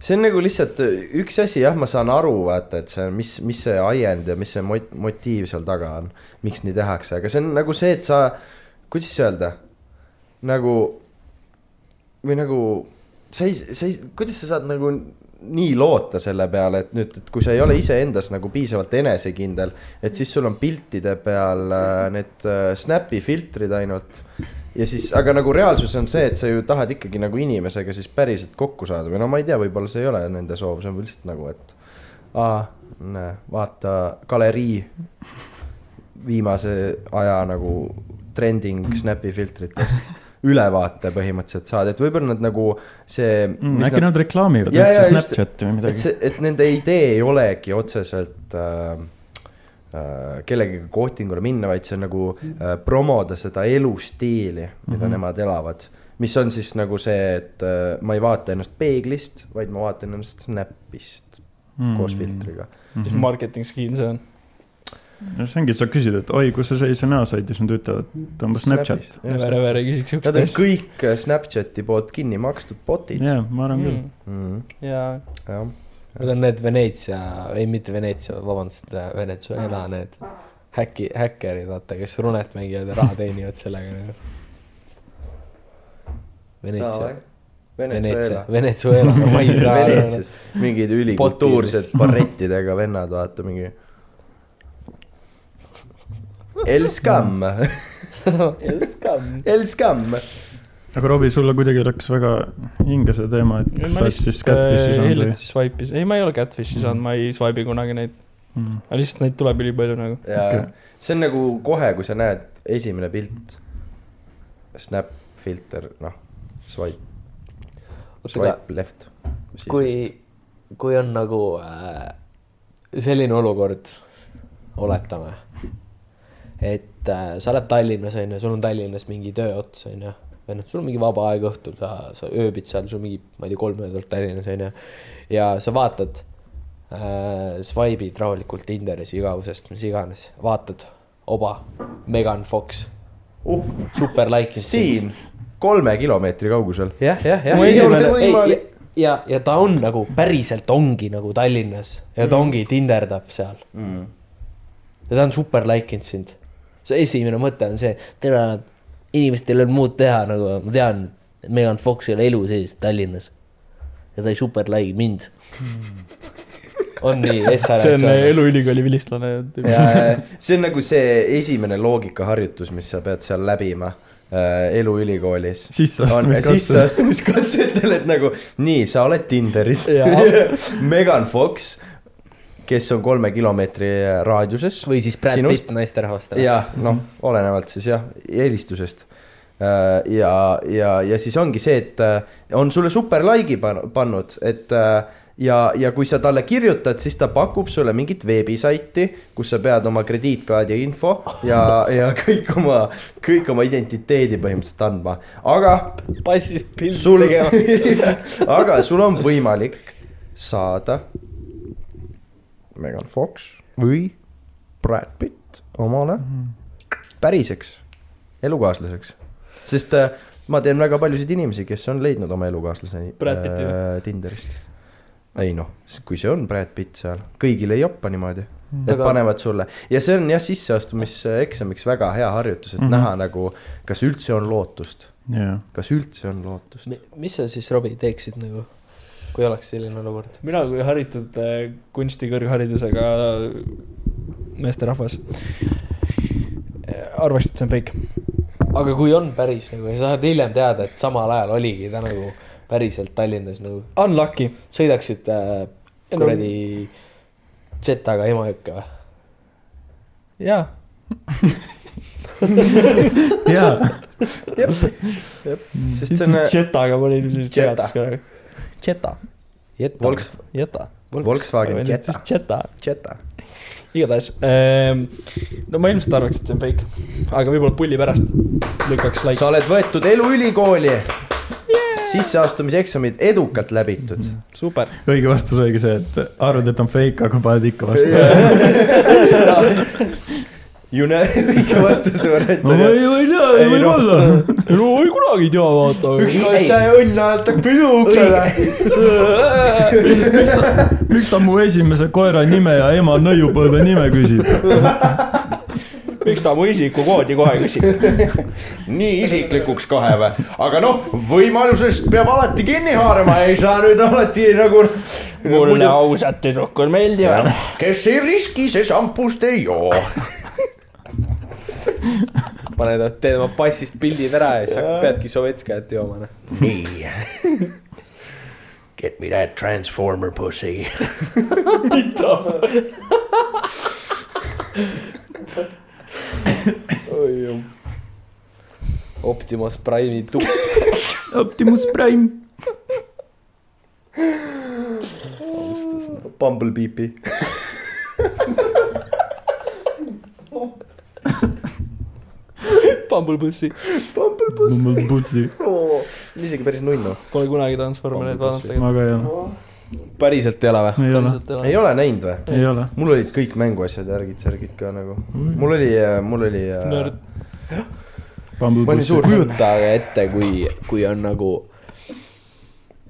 C: see on nagu lihtsalt üks asi jah , ma saan aru , vaata , et see , mis , mis see ajend ja mis see mot- , motiiv seal taga on . miks nii tehakse , aga see on nagu see , et sa , kuidas öelda , nagu või nagu sa ei , sa ei , kuidas sa saad nagu nii loota selle peale , et nüüd , et kui sa ei ole iseendas nagu piisavalt enesekindel , et siis sul on piltide peal äh, need äh, snap'i filtrid ainult . ja siis , aga nagu reaalsus on see , et sa ju tahad ikkagi nagu inimesega siis päriselt kokku saada või no ma ei tea , võib-olla see ei ole nende soov , see on lihtsalt nagu , et . aa , näe , vaata galerii viimase aja nagu trending snap'i filtritest ülevaate põhimõtteliselt saada , et võib-olla nad nagu see
G: mm, .
C: mis
G: äkki nad reklaamivad
C: Jaa,
G: üldse
C: jaa, just.
G: Snapchati või
C: et
G: midagi .
C: see , et nende idee ei olegi otseselt äh, äh, kellegagi kohtingule minna , vaid see on nagu
G: Mhm.
C: äh, promoda seda elustiili , mida mm -hmm. nemad elavad . mis on siis nagu see , et äh, ma ei vaata ennast peeglist , vaid ma vaatan ennast Snapist mm. koos
G: Mhm.
C: filtriga .
B: mis
G: filtriga .
B: marketing skeem see on ?
G: see ongi , sa küsid , et oi , kus sa sellise näo said ja siis nad ütlevad , tõmba Snapchat .
B: Vere , vere , küsiks
C: Nad
B: siukest
C: on kõik äh, Snapchati poolt kinni makstud bot'id yeah. .
G: jah , ma arvan küll .
C: Mm,
B: jaa ,
C: jah ,
E: Need on need Veneetsia , ei mitte Veneetsia , vabandust , Venezuela need häkki , häkkerid , vaata , kes runet mängivad ja raha teenivad sellega nagu . Veneetsia , Veneetsia , Venezuela ,
C: [laughs]
E: ma ei saa aru .
C: Veneetsias mingid ülikultuursed barrettidega vennad , vaata mingi . El Scam . El Scam .
G: aga Robbie , sulle kuidagi läks väga hinge see teema , et kas sa oled siis
B: äh,
G: Catfish'i saanud või
B: hiljuti ? swipe'i , ei , ma ei ole Catfish'i
C: Mm.
B: saanud , ma ei swipe'i kunagi neid ,
G: Mm.
B: aga lihtsalt neid tuleb ülipalju nagu .
C: ja
G: Okei.
C: see on nagu kohe , kui sa näed esimene pilt . Snap , filter , noh , swipe , swipe left .
E: kui , kui on nagu äh, selline olukord , oletame , et äh, sa oled Tallinnas onju , sul on Tallinnas mingi töö ots onju , või noh , sul on mingi vaba aeg õhtul , sa , sa ööbid seal , sul on mingi , ma ei tea , kolm ööd oled Tallinnas onju ja sa vaatad äh, , swipe'id rahulikult Tinderis igavusest , mis iganes , vaatad , oba , Megan Fox
C: Uh,
E: super like .
C: siin , kolme kilomeetri kaugusel .
E: jah , jah , jah .
C: Mu esimene- võimalik-
E: ja , ja ta on nagu päriselt ongi nagu Tallinnas ja ta ongi tinderdab seal
C: Mm.
E: ja ta on super like inud sind . see esimene mõte on see , tere , inimestel on muud teha nagu , ma tean , Megan Fox ei ole elu sees Tallinnas ja ta ei super like mind . on nii ,
B: see on äh,
E: SRX .
B: eluülikooli vilistlane .
C: ja see on nagu see esimene loogikaharjutus , mis sa pead seal läbima äh, eluülikoolis .
G: Sisseastumiskatsed.
C: sisseastumiskatsetel , et nagu nii , sa oled Tinderis
B: Jaa. .
C: [laughs] Megan Fox , kes on kolme kilomeetri raadiuses .
E: või siis Brad
C: Sinust?
E: Pitt naisterahvastele .
C: jah , noh , olenevalt siis jah , eelistusest . ja , ja , ja siis ongi see , et äh, on sulle super like'i pan- pannud , et äh, ja , ja kui sa talle kirjutad , siis ta pakub sulle mingit veebisaiti , kus sa pead oma krediitkaardi info ja , ja kõik oma , kõik oma identiteedi põhimõtteliselt andma , aga
E: passis pilt
C: sul , aga sul on võimalik saada Megan Fox või Brad Pitt omale päriseks elukaaslaseks , sest äh, ma tean väga paljusid inimesi , kes on leidnud oma elukaaslase
B: Brad Pitti või?
C: äh, Tinderist . ei noh , kui see on Brad Pitt seal , kõigil ei joppa niimoodi , et
E: Aga-
C: panevad sulle ja see on jah , sisseastumiseksamiks väga hea harjutus , et mm
G: Mhm.
C: -hmm. näha nagu , kas üldse on lootust ,
G: jaa ,
C: kas üldse on lootust .
E: mis sa siis , Robbie , teeksid nagu , kui oleks selline olukord ?
B: [laughs] mina kui haritud äh, kunstikõrgharidusega meesterahvas arvaks , et see on fake .
E: aga kui on päris nagu ja saad hiljem teada , et samal ajal oligi ta nagu päriselt Tallinnas nagu ,
B: Unlucky ,
E: sõidaksid äh, kuradi Jetaga Emajõkke või ?
B: jaa .
G: jaa ,
C: sest see on äh,
B: ütlesid Jetaga , ma olin nüüd
C: Jetta.
B: segadus ka . Jeta ,
C: Volks- ,
B: Jeta .
C: Volkswagen Jetta ,
B: Jeta ,
C: Jetta .
B: igatahes ehm, . no ma ilmselt arvaks , et see on fake , aga võib-olla pulli pärast lükkaks like .
C: sa oled võetud eluülikooli yeah. , sisseastumiseksamid edukalt läbitud mm .
B: super ,
G: õige vastus oligi see , et arvad , et on fake , aga paned ikka vastu .
C: ju näe , õige vastuse variant
G: ma
C: on
G: ei , ma ei tea ,
C: Ei,
G: võib-olla .
D: no ei kunagi ei tea ,
B: [laughs]
D: vaata .
F: see õnn aetab pidu uksele .
G: miks ta , miks ta mu esimese koera nime ja ema nõiupõlve nime küsib ?
B: miks ta mu isikukoodi kohe küsib ?
A: nii isiklikuks kohe või ? aga noh , võimalusest peab alati kinni haarama , ei saa nüüd alati nagu .
B: mulle ausad tüdrukud meeldivad .
A: kes ei riski , see šampust ei joo .
E: pane ta , tee tema passist pildid ära ja siis hakkad- peadki Sovetskajat jooma , noh .
A: nii . Get me that transformer pussy .
E: Optimus Prime'i tukk .
G: Optimus Prime .
C: Bumblebeepi .
B: Bumblebussi ,
G: mul bussi ,
C: isegi päris nunnu .
B: pole kunagi Transformereid vaadanud .
G: ma ka ei ole ,
E: päriselt ei ole või ?
G: ei ole ,
C: ei ole näinud või ?
G: ei ole .
C: mul olid kõik mänguasjad ja värgid , särgid ka nagu . mul oli , mul oli . äh,
B: Nörd.
C: ma olin suur fänn .
E: kujutage ette , kui , kui on nagu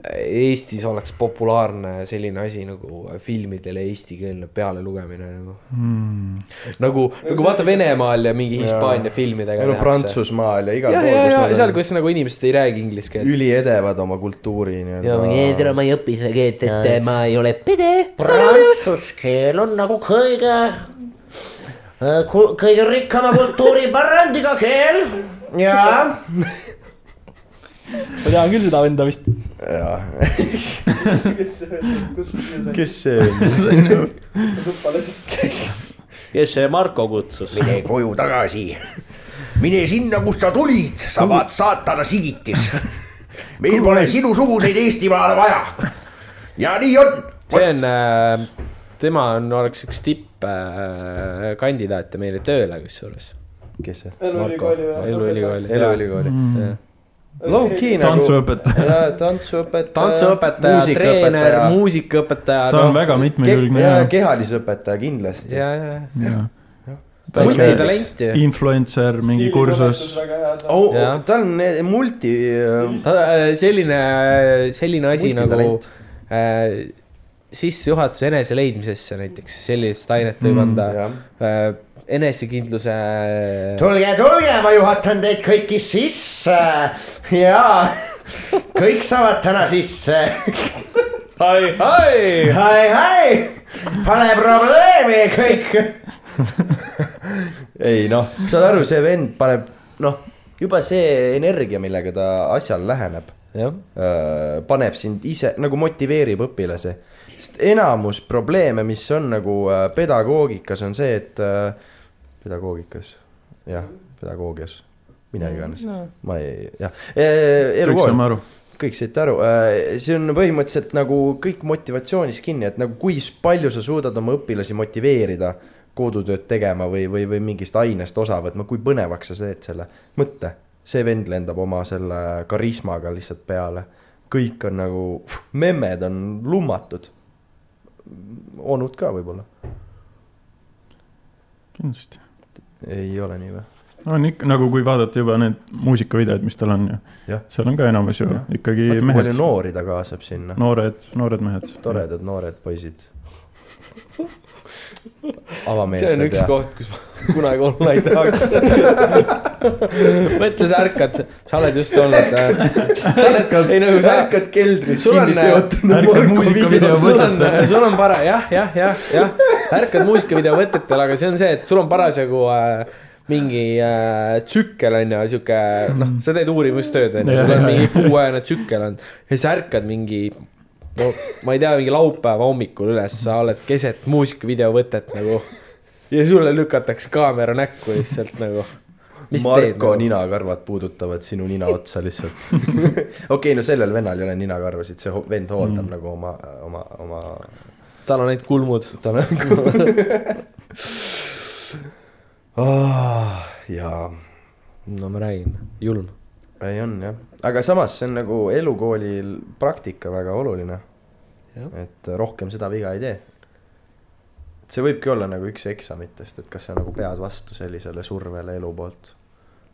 E: Eestis oleks populaarne selline asi nagu filmidele eestikeelne pealelugemine nagu .
C: Hmm.
E: nagu , nagu vaata Venemaal ja mingi Hispaania filmidega
C: ei no . Prantsusmaal ja igal
E: jah ,
C: pool ,
E: ja , ja
C: kus
E: seal ,
C: nad on
E: kus nagu inimesed ei räägi inglise keelt .
C: üliedevad oma kultuuri nii-öelda .
E: ma ei õpi seda keelt , et ma ei ole pede .
A: prantsuse keel on nagu kõige , kõige rikkama kultuuripärandiga keel ja .
B: ma tean küll seda venda vist .
C: kes see on ?
I: kes see Marko kutsus ?
A: mine koju tagasi , mine sinna , kust sa tulid , sa oled saatana sigitis . meil pole sinusuguseid Eestimaale vaja . ja nii on .
E: see on , tema on , oleks üks tippkandidaate meile tööle kusjuures .
C: kes see ?
E: eluülikooli või ? eluülikooli .
C: eluülikooli .
E: Jah.
C: Low-key nagu .
G: tantsuõpetaja ,
C: tantsuõpetaja .
E: tantsuõpetaja , treener , muusikaõpetaja .
G: ta on väga mitmekülgne
C: ja
G: ja
C: kehalisõpetaja kindlasti .
E: ja , ja ,
G: ja
E: ta on
C: Väike-
E: multitalent ju .
G: influencer , mingi kursus .
C: oh,
E: Jah. ,
C: ta on eh, multi , äh,
E: ta , selline , selline asi nagu
C: Multitalent.
E: äh, sissejuhatus eneseleidmisesse näiteks , sellist ainet võib
G: Mm,
E: anda
C: jah.
E: äh, enesekindluse .
A: tulge , tulge , ma juhatan teid kõiki sisse [laughs] ja kõik saavad täna sisse . [laughs]
I: ai , ai .
A: hai-hai , pane probleemi kõik .
C: ei noh , saad aru , see vend paneb , noh , juba see energia , millega ta asjale läheneb ,
E: jah ,
C: paneb sind ise nagu motiveerib õpilasi . sest enamus probleeme , mis on nagu äh, pedagoogikas , on see , et äh, pedagoogikas , jah , pedagoogias , mida iganes , ma ei , jah ,
G: kõik
C: elukool
G: saame aru .
C: kõik saite aru , see on põhimõtteliselt nagu kõik motivatsioonis kinni , et nagu kui s- palju sa suudad oma õpilasi motiveerida kodutööd tegema või , või , või mingist ainest osa võtma , kui põnevaks sa teed selle mõtte . see vend lendab oma selle karismaga lihtsalt peale . kõik on nagu , memmed on lummatud . onud ka võib-olla ,
G: kindlasti .
C: ei ole nii või ?
G: on ikka nagu , kui vaadata juba need muusikavideod , mis tal on ju
C: Jah. .
G: seal on ka enamus ju
C: Jah.
G: ikkagi
C: kui palju
G: mehed ,
C: noori ta kaasab sinna no. ,
G: noored , noored
C: [laughs]
G: mehed .
C: toredad noored poisid .
E: see on
C: avameelsed
E: üks
C: ja
E: koht , kus ma [laughs] kunagi olla ei tahaks . [laughs] mõtle , sa ärkad , sa oled just olnud äh, . sa oled , ei no sa ärkad .
C: ärkad keldris
E: sul on- äh,
C: kinni seotud .
G: ärkad muusikavideo
E: sul on ,
G: võtete .
E: sul on para- , jah , jah , jah , jah , ärkad muusikavideo võtetel , aga see on see , et sul on parasjagu äh, mingi äh, tsükkel on ju , sihuke noh , sa teed uurimustööd on ju ,
G: Jah,
E: sul on
G: jah,
E: mingi kuuajane tsükkel on ja siis ärkad mingi no ma ei tea , mingi laupäeva hommikul üles , sa oled keset muusikavideo võtet nagu ja sulle lükatakse kaamera näkku lihtsalt nagu . mis teed
C: Marko
E: nagu ?
C: ninakarvad puudutavad sinu nina otsa lihtsalt . okei , no sellel vennal ei ole ninakarvasid , see ho- vend hooldab mm. nagu oma , oma , oma .
E: tal on ainult kulmud .
C: ta
E: [laughs]
C: nagu oh, . jaa ,
E: no ma räägin , julm .
C: ei on jah , aga samas see on nagu elukoolil praktika väga oluline
E: Jah. .
C: et rohkem seda viga ei tee . see võibki olla nagu üks eksamitest , et kas sa nagu pead vastu sellisele survele elu poolt ,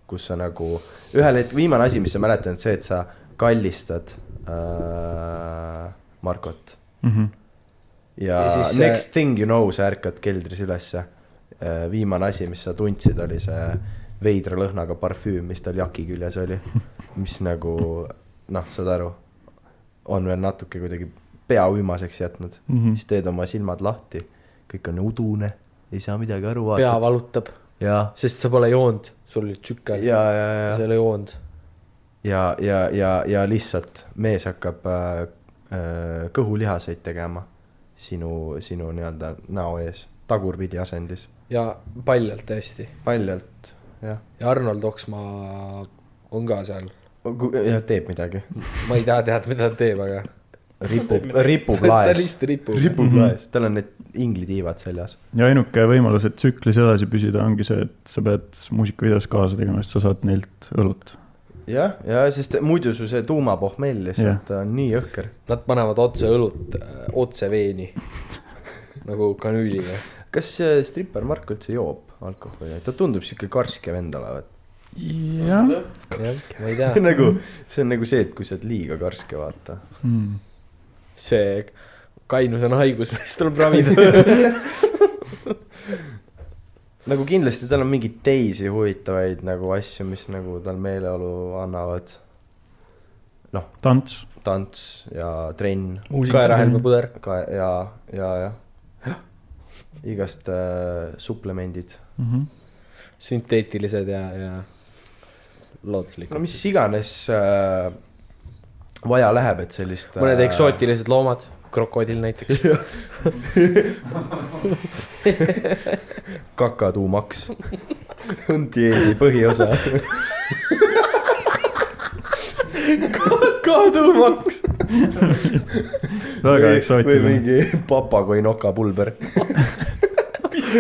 C: kus sa nagu ühel hetkel , viimane asi , mis sa mäletad , on see , et sa kallistad äh, Markot
G: Mhm,
C: ja,
E: Ja
C: ja
E: siis
C: siis,
E: see-
C: next thing you know , sa ärkad keldris ülesse . viimane asi , mis sa tundsid , oli see veidra lõhnaga parfüüm , mis tal jaki küljes
E: [laughs]
C: oli , mis nagu noh , saad aru , on veel natuke kuidagi pea uimaseks jätnud mm ,
G: Mhm.
C: -hmm. siis teed oma silmad lahti , kõik on udune , ei saa midagi aru
E: pea
C: vaadata .
E: valutab ,
C: ja ,
E: sest sa pole joonud , sul oli tšükk all ,
C: ja , ja ,
E: sa
C: ja ,
E: ei ole joonud .
C: ja , ja , ja , ja lihtsalt mees hakkab äh, äh, kõhulihaseid tegema sinu , sinu nii-öelda näo ees , tagurpidi asendis ,
E: ja paljalt tõesti .
C: paljalt , jah .
E: ja Arnold Oksmaa on ka seal ,
C: ja teeb midagi ,
E: ma ei taha teada , mida ta teeb , aga
C: ripub , ripub
E: [laughs] ta
C: laes ,
E: lihtsalt ripub .
C: ripub laes , tal on need inglitiivad seljas .
G: ja ainuke võimalus , et tsüklis edasi püsida , ongi see , et sa pead muusikavideos kaasa tegema , sest sa saad neilt õlut .
C: jah , ja sest muidu su see tuumapohmell lihtsalt yeah. on nii jõhker .
E: Nad panevad otse õlut , otse
C: [laughs]
E: veeni nagu kanüüliga .
C: kas see stripper Mark üldse joob alkoholi , ta tundub sihuke karske vend olevat .
G: jah ,
E: jah , ma ei tea ,
C: [laughs] nagu , see on nagu see , et kui sa oled liiga karske , vaata .
G: Mhm.
E: see kainus on haigus , [laughs] mis tuleb
C: [laughs]
E: ravida .
C: nagu kindlasti tal on mingeid teisi huvitavaid nagu asju , mis nagu tal meeleolu annavad .
G: tants , Mhm.
C: tants ja trenn
E: kaerahelmepuder ,
C: ka ja , ja , jah . igast äh, suplemendid .
G: Mhm.
E: sünteetilised ja , ja looduslikud
C: no . mis iganes äh, vaja läheb , et sellist . äh,
E: mõned eksootilised loomad , krokodill näiteks .
C: [laughs] kakatuumaks on dieedi põhiosa .
E: kaduumaks .
G: väga
C: või
G: eksootiline .
C: mingi [laughs] papagoi
E: [laughs]
C: nokapulber .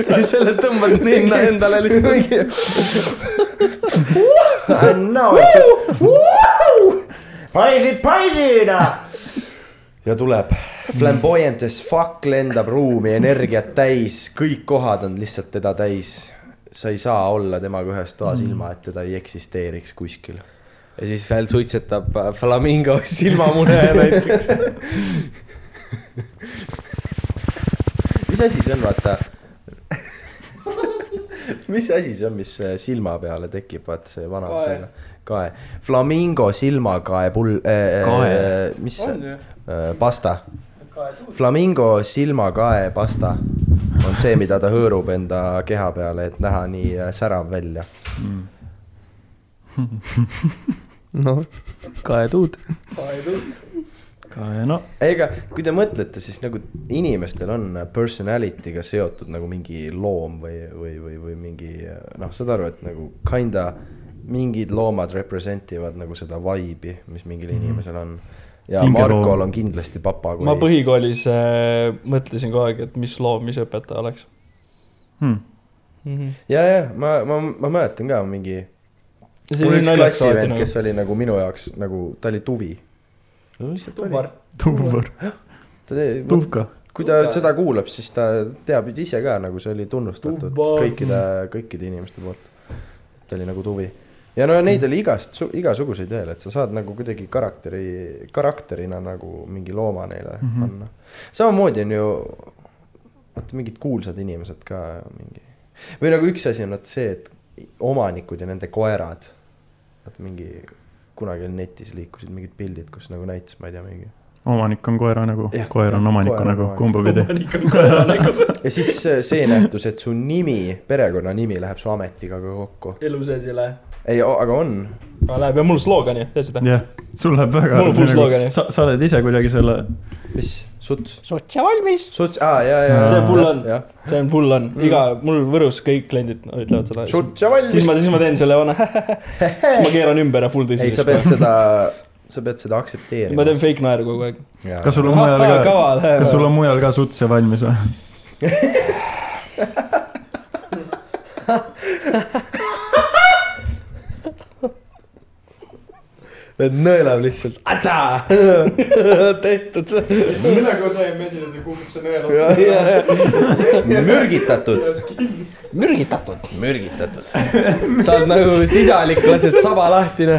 E: selle
C: [laughs]
E: tõmbad ninna endale lihtsalt .
A: paisid , paisid .
C: ja tuleb flamboyant as fuck , lendab ruumi energiat täis , kõik kohad on lihtsalt teda täis . sa ei saa olla temaga ühes toas ilma , et teda ei eksisteeriks kuskil .
E: Mm. ja siis veel suitsetab äh, flamingo silmamune näiteks .
C: mis asi see on ,
F: [laughs]
C: vaata ? mis asi see on , mis äh, silma peale tekib , vaat see vana
F: Kae. .
C: kae , flamingo silmakae pull äh, .
G: Kae.
C: mis
F: on
C: see ,
F: ju .
C: pasta . flamingo silmakae pasta on see , mida ta hõõrub enda keha peale , et näha nii äh, särav välja .
D: noh , kaetud .
G: no
C: ega kui te mõtlete , siis nagu inimestel on personality'ga seotud nagu mingi loom või , või , või , või mingi noh , saad aru , et nagu kinda mingid loomad represent ivad nagu seda vibe'i , mis mingil inimesel on . ja
G: Hingeloom.
C: Markol on kindlasti papagoi .
B: ma põhikoolis äh, mõtlesin kogu aeg , et mis loom , mis õpetaja oleks
G: hmm. ,
B: mm . -hmm.
C: ja , ja ma , ma , ma mäletan ka mingi .
B: ja see
C: mul
B: oli
C: üks
B: naljakas alati
C: klassivend ,
B: nagu
C: kes , oli nagu minu jaoks nagu , ta oli tuvi . no lihtsalt oli .
G: tuhvar ,
C: ta tegi ,
G: tuhka .
C: kui ta seda kuulab , siis ta teab ju ise ka nagu see oli tunnustatud kõikide , kõikide inimeste poolt . ta oli nagu tuvi ja no neid oli igast , igasuguseid veel , et sa saad nagu kuidagi karakteri , karakterina nagu mingi looma neile mm -hmm. panna . samamoodi on ju , vaata mingid kuulsad inimesed ka mingi või nagu üks asi on vaat see , et omanikud ja nende koerad . vaata mingi , kunagi oli netis liikusid mingid pildid , kus nagu näitas , ma ei tea , mingi
G: omanik on koera nägu
C: Jah, ,
G: koer on nagu omaniku
C: jah, koer on
G: nägu ,
C: omanik.
G: kumba pidi .
C: ja siis äh, see nähtus , et su nimi , perekonnanimi läheb su ametiga ka kokku .
B: elu sees ei lähe .
C: ei , aga on .
B: aga läheb ja mul slogan ju , tead seda ?
G: jah , sul läheb väga nagu,
B: Mul on full slogan, jah.
G: sa , sa oled ise kuidagi selle ,
C: mis ? suts ?
D: sotse valmis .
C: suts , aa , ja , ja , ja .
B: See full on.
C: jah ,
B: see on full
C: Mm.
B: on , iga , mul Võrus kõik kliendid ütlevad seda . siis
C: suts ja valmis .
B: ma , siis ma teen selle vana , [laughs] siis ma keeran ümber ja full
C: ei , sa
B: tõsiseks .
C: pead seda , sa pead seda
B: ma teen
C: aktsepteerima .
B: fake naeru kogu aeg .
G: kas
B: Ah,
G: sul on mujal ka , kas sul on mujal ka sutse valmis või ?
E: et nõelab lihtsalt , atsa , [laughs] tehtud .
B: sellega sai mesilase kukub see nõel otsa .
C: [laughs] mürgitatud ,
D: mürgitatud .
C: mürgitatud .
E: sa oled nagu sisalik , lased saba lahti , noh .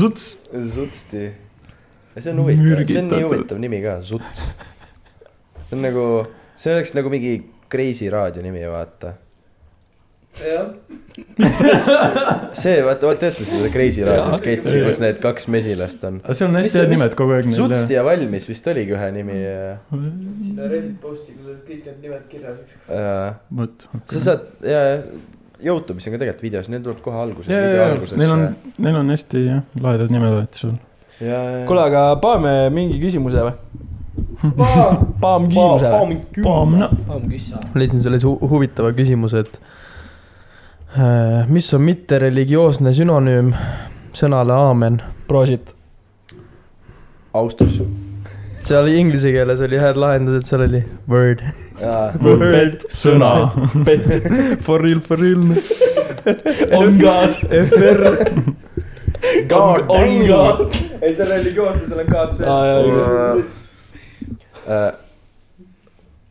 G: zuts ,
C: Zutsti . see on huvitav , see on nii
G: Mürgitatud.
C: huvitav nimi ka , Zuts . see on nagu , see oleks nagu mingi crazy raadio nimi , vaata . see , vaata , vaata , teate seda Crazy raadio sketši , kus need kaks mesilast on .
G: aga see on
C: Mis
G: hästi
C: see-
G: head
C: mis-
G: nimed kogu aeg neil
C: Zutsti ja Valmis vist oligi ühe nimi .
F: sinna Reddit posti , kus olid kõik need nimed kirjas .
C: Äh, sa
G: vot .
C: saad , ja , ja Youtube'is on ka tegelikult videos , need tuleb kohe alguses ,
G: ja ,
C: video
G: ja ,
C: alguses . äh,
G: neil on , neil on hästi jah , lahedad nimed alati sul .
B: kuule , aga paneme mingi küsimuse või ? paneme küsimuse või ?
G: Paamna ,
E: leidsin selles hu huvitava küsimuse , et äh, mis on mittereligioosne sünonüüm sõnale aamen ?
B: proosid .
C: austus .
E: seal inglise keeles oli head lahendused , seal oli word .
G: võõrpätt , sõna .
E: For real , for real .
B: on God .
C: God
B: on God .
F: ei , see on religioosne , seal on ka see .
C: Äh,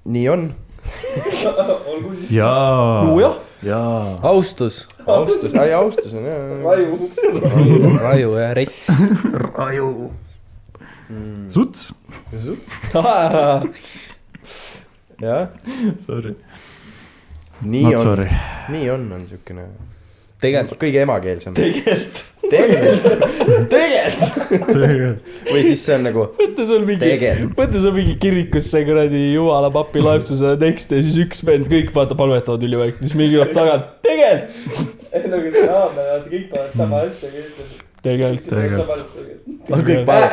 C: nii on ,
G: jaa ,
B: nojah ,
G: jaa .
E: austus .
C: austus , ai austus on jaa , jaa , jaa .
F: raju .
E: raju jah , rets .
G: zuts , [laughs]
C: jah ,
G: sorry .
C: nii
G: Not
C: on ,
G: sorry .
C: nii on , on siukene .
E: tegelikult
C: kõige emakeelsem . tegelikult . tegelikult ,
B: [laughs]
C: tegelikult .
E: [laughs]
C: või siis see on nagu
B: mõtle sul mingi ,
C: tegelikult .
B: mõtle sul mingi kirikusse kuradi jumala papi laeb su seda teksti ja siis üks vend , kõik vaata palvetavad üliväikne , siis mingi tuleb tagant , tegelikult ,
F: ei no , kui see aamen , vaata kõik panevad sama asja kirjas .
B: tegelikult .
C: kõik valed .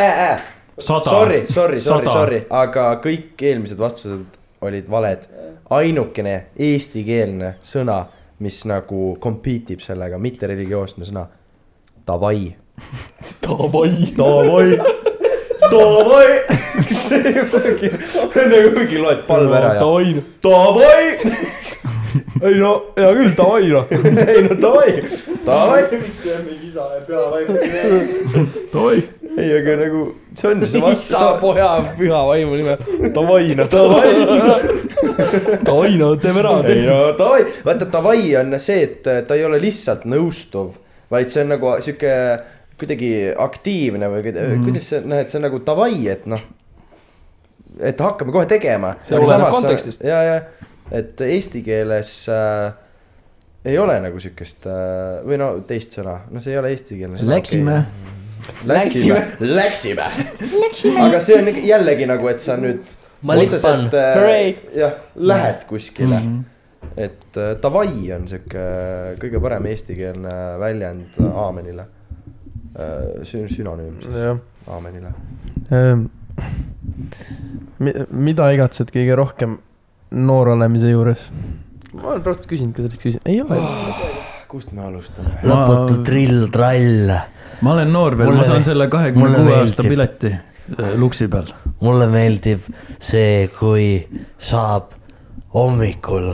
G: sada .
C: Sorry , sorry , sorry ,
G: Sada.
C: sorry , aga kõik eelmised vastused olid valed . ainukene eestikeelne sõna , mis nagu compete ib sellega , mitte religioosne sõna . Davai .
B: davai ,
C: Davai , davai , see ei olegi , nagu mingi loed palve ära ja
B: davai ,
C: davai . ei no , hea küll , davai noh . ei no davai , davai .
F: see on mingi isa ja peavaim .
G: oi ,
C: ei , aga nagu see on see
E: isa ,
C: vastus ,
E: poja , püha vaimu nime .
C: davai noh , davai .
B: davai , no teeme ära .
C: ei no davai , vaata davai on see , et äh, ta ei ole lihtsalt nõustuv , vaid see on nagu sihuke kuidagi aktiivne või kuida-
B: Mhm.
C: kuidas see , noh , et see on nagu davai , et noh . et hakkame kohe tegema .
B: See oleneb kontekstist.
C: ja , ja , et eesti keeles äh, ei ole nagu sihukest äh, või no teist sõna , no see ei ole eesti keelne .
G: läksime .
C: Läksime , läksime . aga see on ikka- jällegi nagu , et sa nüüd .
E: Ma lippan.
A: äh,
B: Hurray.
C: jah , lähed kuskile mm .
D: Mm-hmm.
C: -hmm. et äh, davai on sihuke kõige parem eestikeelne väljend aamenile . Sün- , sünonüüm siis
E: jah ,
C: aamenile .
E: Ehm, mida igatsed kõige rohkem noor olemise juures ? ma olen praegu küsinud ka sellist küsimust , ei ole vist .
C: kust me alustame ?
G: lõputu
D: trill-trall ,
G: ma olen noor veel , ma
D: Mulle
G: saan
D: meeldib.
G: selle kahekümne
D: Mulle
G: kuue aasta
D: meeldib.
G: pileti äh, luksi peal .
D: mulle meeldib see , kui saab hommikul ,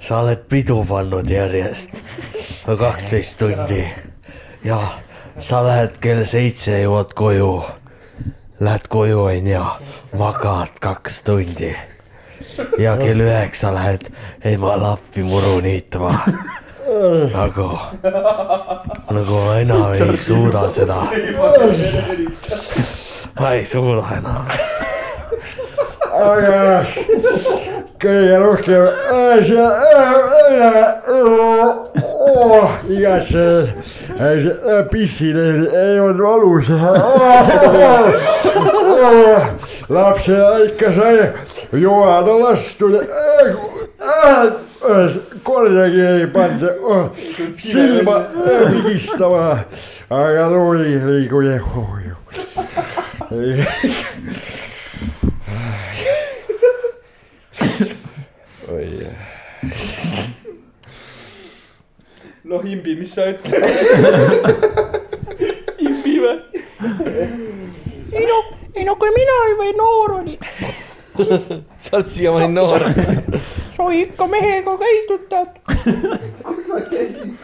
D: sa oled pidu pannud järjest kaksteist tundi ja sa lähed kell seitse jõuad koju . Lähed koju onju , magad kaks tundi ja kell üheksa lähed ema lappi muru niitma . nagu , nagu ma
A: [laughs]
D: enam ei suuda seda . ma ei suuda enam .
A: aga kõige rohkem äh, asja , äh, oh, igasse pissile äh, ei olnud [laughs] valus . oh, lapse ikka sai joana lastud . äh, kordagi ei pandud silma äh, pigistama , aga tuli liigu ja hoiu .
F: noh , imbi , mis sa ütled ?
J: ei no kui mina juba noor olin ,
E: sa oled siiamaani noor .
J: sai ikka mehega käidud , tead .
F: kus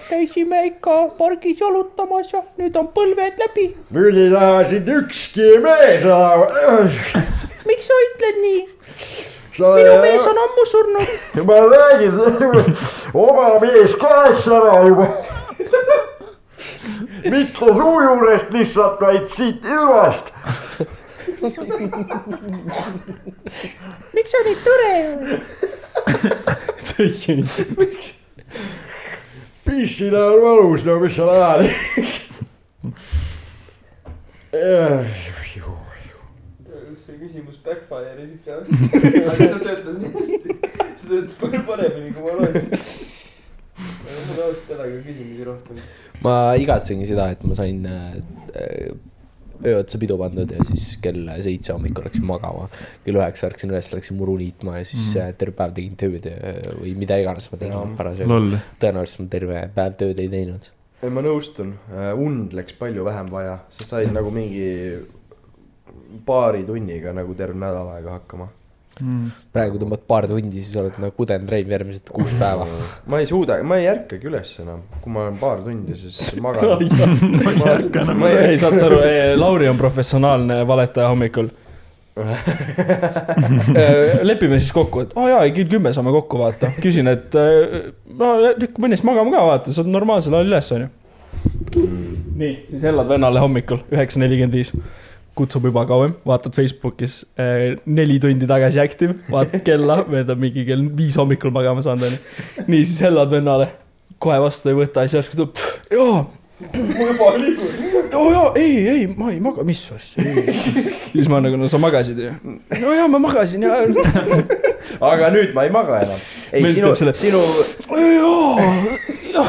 J: käisime ikka pargis jalutamas ja nüüd on põlved läbi .
A: nüüd ei lähe sind ükski mees
D: [laughs]
A: enam .
J: miks sa ütled nii ? minu mees on ammu surnud .
A: ma räägin , [laughs] oma mees kaheks ära
D: [laughs]
A: juba . mitte suu juurest lihtsalt , vaid siit ilmast .
J: miks sa nii tore oled ?
A: pissile on valus , no mis seal ajal .
F: see küsimus backfire'is ikka . [laughs] aga see töötas nii hästi , see töötas palju paremini kui ma lootsin . ma ei saa alati ära ka küsimusi rohkem .
E: ma igatsengi seda , et ma sain äh, öö otsa pidu pandud ja siis kell seitse hommikul läksin magama . kell üheksa ärkasin üles , läksin muru niitma ja siis
G: Mm.
E: mm. terve päev tegin tööd äh, või mida iganes ma tegin
G: Loll.
E: parasjagu . tõenäoliselt ma terve päev tööd ei teinud .
C: ei , ma nõustun , und läks palju vähem vaja , sa said nagu mingi paari tunniga nagu terve nädal aega hakkama .
E: praegu tõmbad paar tundi , siis oled nagu kuden treim järgmised kuus päeva .
C: ma ei suuda , ma ei ärkagi üles enam , kui ma olen paar tundi , siis
B: [laughs]
C: [laughs] magan . ma ei ärka enam
B: ei , saad sa aru , Lauri on professionaalne valetaja
C: [laughs]
B: hommikul . lepime siis kokku , et aa oh, jaa , kell kümme saame kokku , vaata . küsin , et eh, no tükk minnes magama ka , vaata , sa oled normaalsel ajal üles , onju . nii , siis hellad vennale hommikul üheksa nelikümmend viis kutsub juba kauem , vaatad Facebookis eh, neli tundi tagasi active , vaatad kella , möödub mingi kell viis hommikul magama saanud onju . nii , siis hellad vennale , kohe vastu ei võta , siis järsku tuleb , jaa , oo Oh jaa , ei , ei , ma ei maga , mis asja , ei . [laughs] siis ma nagu , no sa magasid ju . no jaa , ma magasin [laughs] ja .
C: aga nüüd ma ei maga enam . ei ,
B: Meil
C: sinu
B: tuleb , selle-
C: sinu
B: jaa .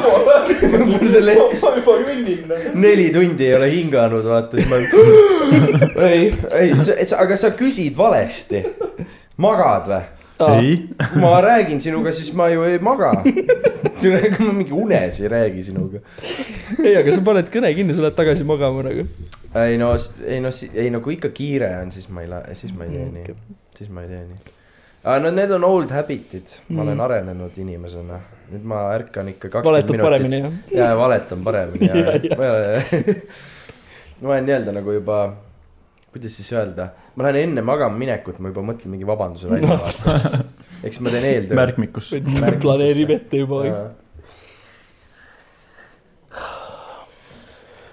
C: mul selle
F: ma juba kõnnin nagu .
C: neli tundi ei ole hinganud , vaata siis ma olen .
F: [gasps]
C: ei , ei , aga sa küsid valesti . magad või ?
G: ei ,
C: kui ma räägin sinuga , siis ma ju ei maga . ega ma mingi unes ei räägi sinuga .
B: ei , aga sa paned kõne kinni , sa lähed tagasi magama nagu .
C: ei no , ei no , ei no kui ikka kiire on , siis ma ei lähe , siis ma ei tee nii , siis ma ei tee nii . aga no need on old habit'id , ma olen arenenud inimesena , nüüd ma ärkan ikka kakskümmend
B: valetad
C: minutit
B: paremini jah .
C: ja valetan paremini ja,
B: Ja,
C: ja, ja. ma olen nii-öelda nagu juba , kuidas siis öelda , ma lähen enne magama minekut , ma juba mõtlen mingi vabanduse välja no. vastu . eks ma teen eeltöö .
G: märkmikus .
B: planeerib ette juba .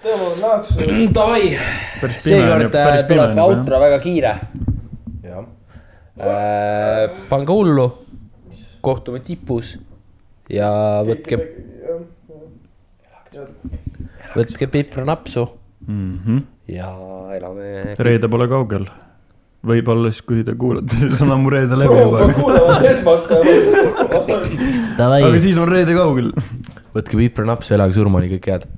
F: Tõnu Laaksu ,
E: Davai ,
G: päris pime on ju ,
E: seekord äh,
G: päris pime
E: tuleb
G: on juba
E: outro väga kiire .
C: jah ,
E: pange hullu , kohtume tipus ja võtke , võtke pipranapsu
G: jah .
E: ja elame .
G: Mhm. reede pole kaugel . võib-olla siis , kui te kuulate , siis on ammu reede läbi
F: ma
G: juba ,
F: kuulan esmaspäeval .
E: Davai
G: aga , siis on reede kaugel
E: võtke pipranapsu , elage surmani , kõike head .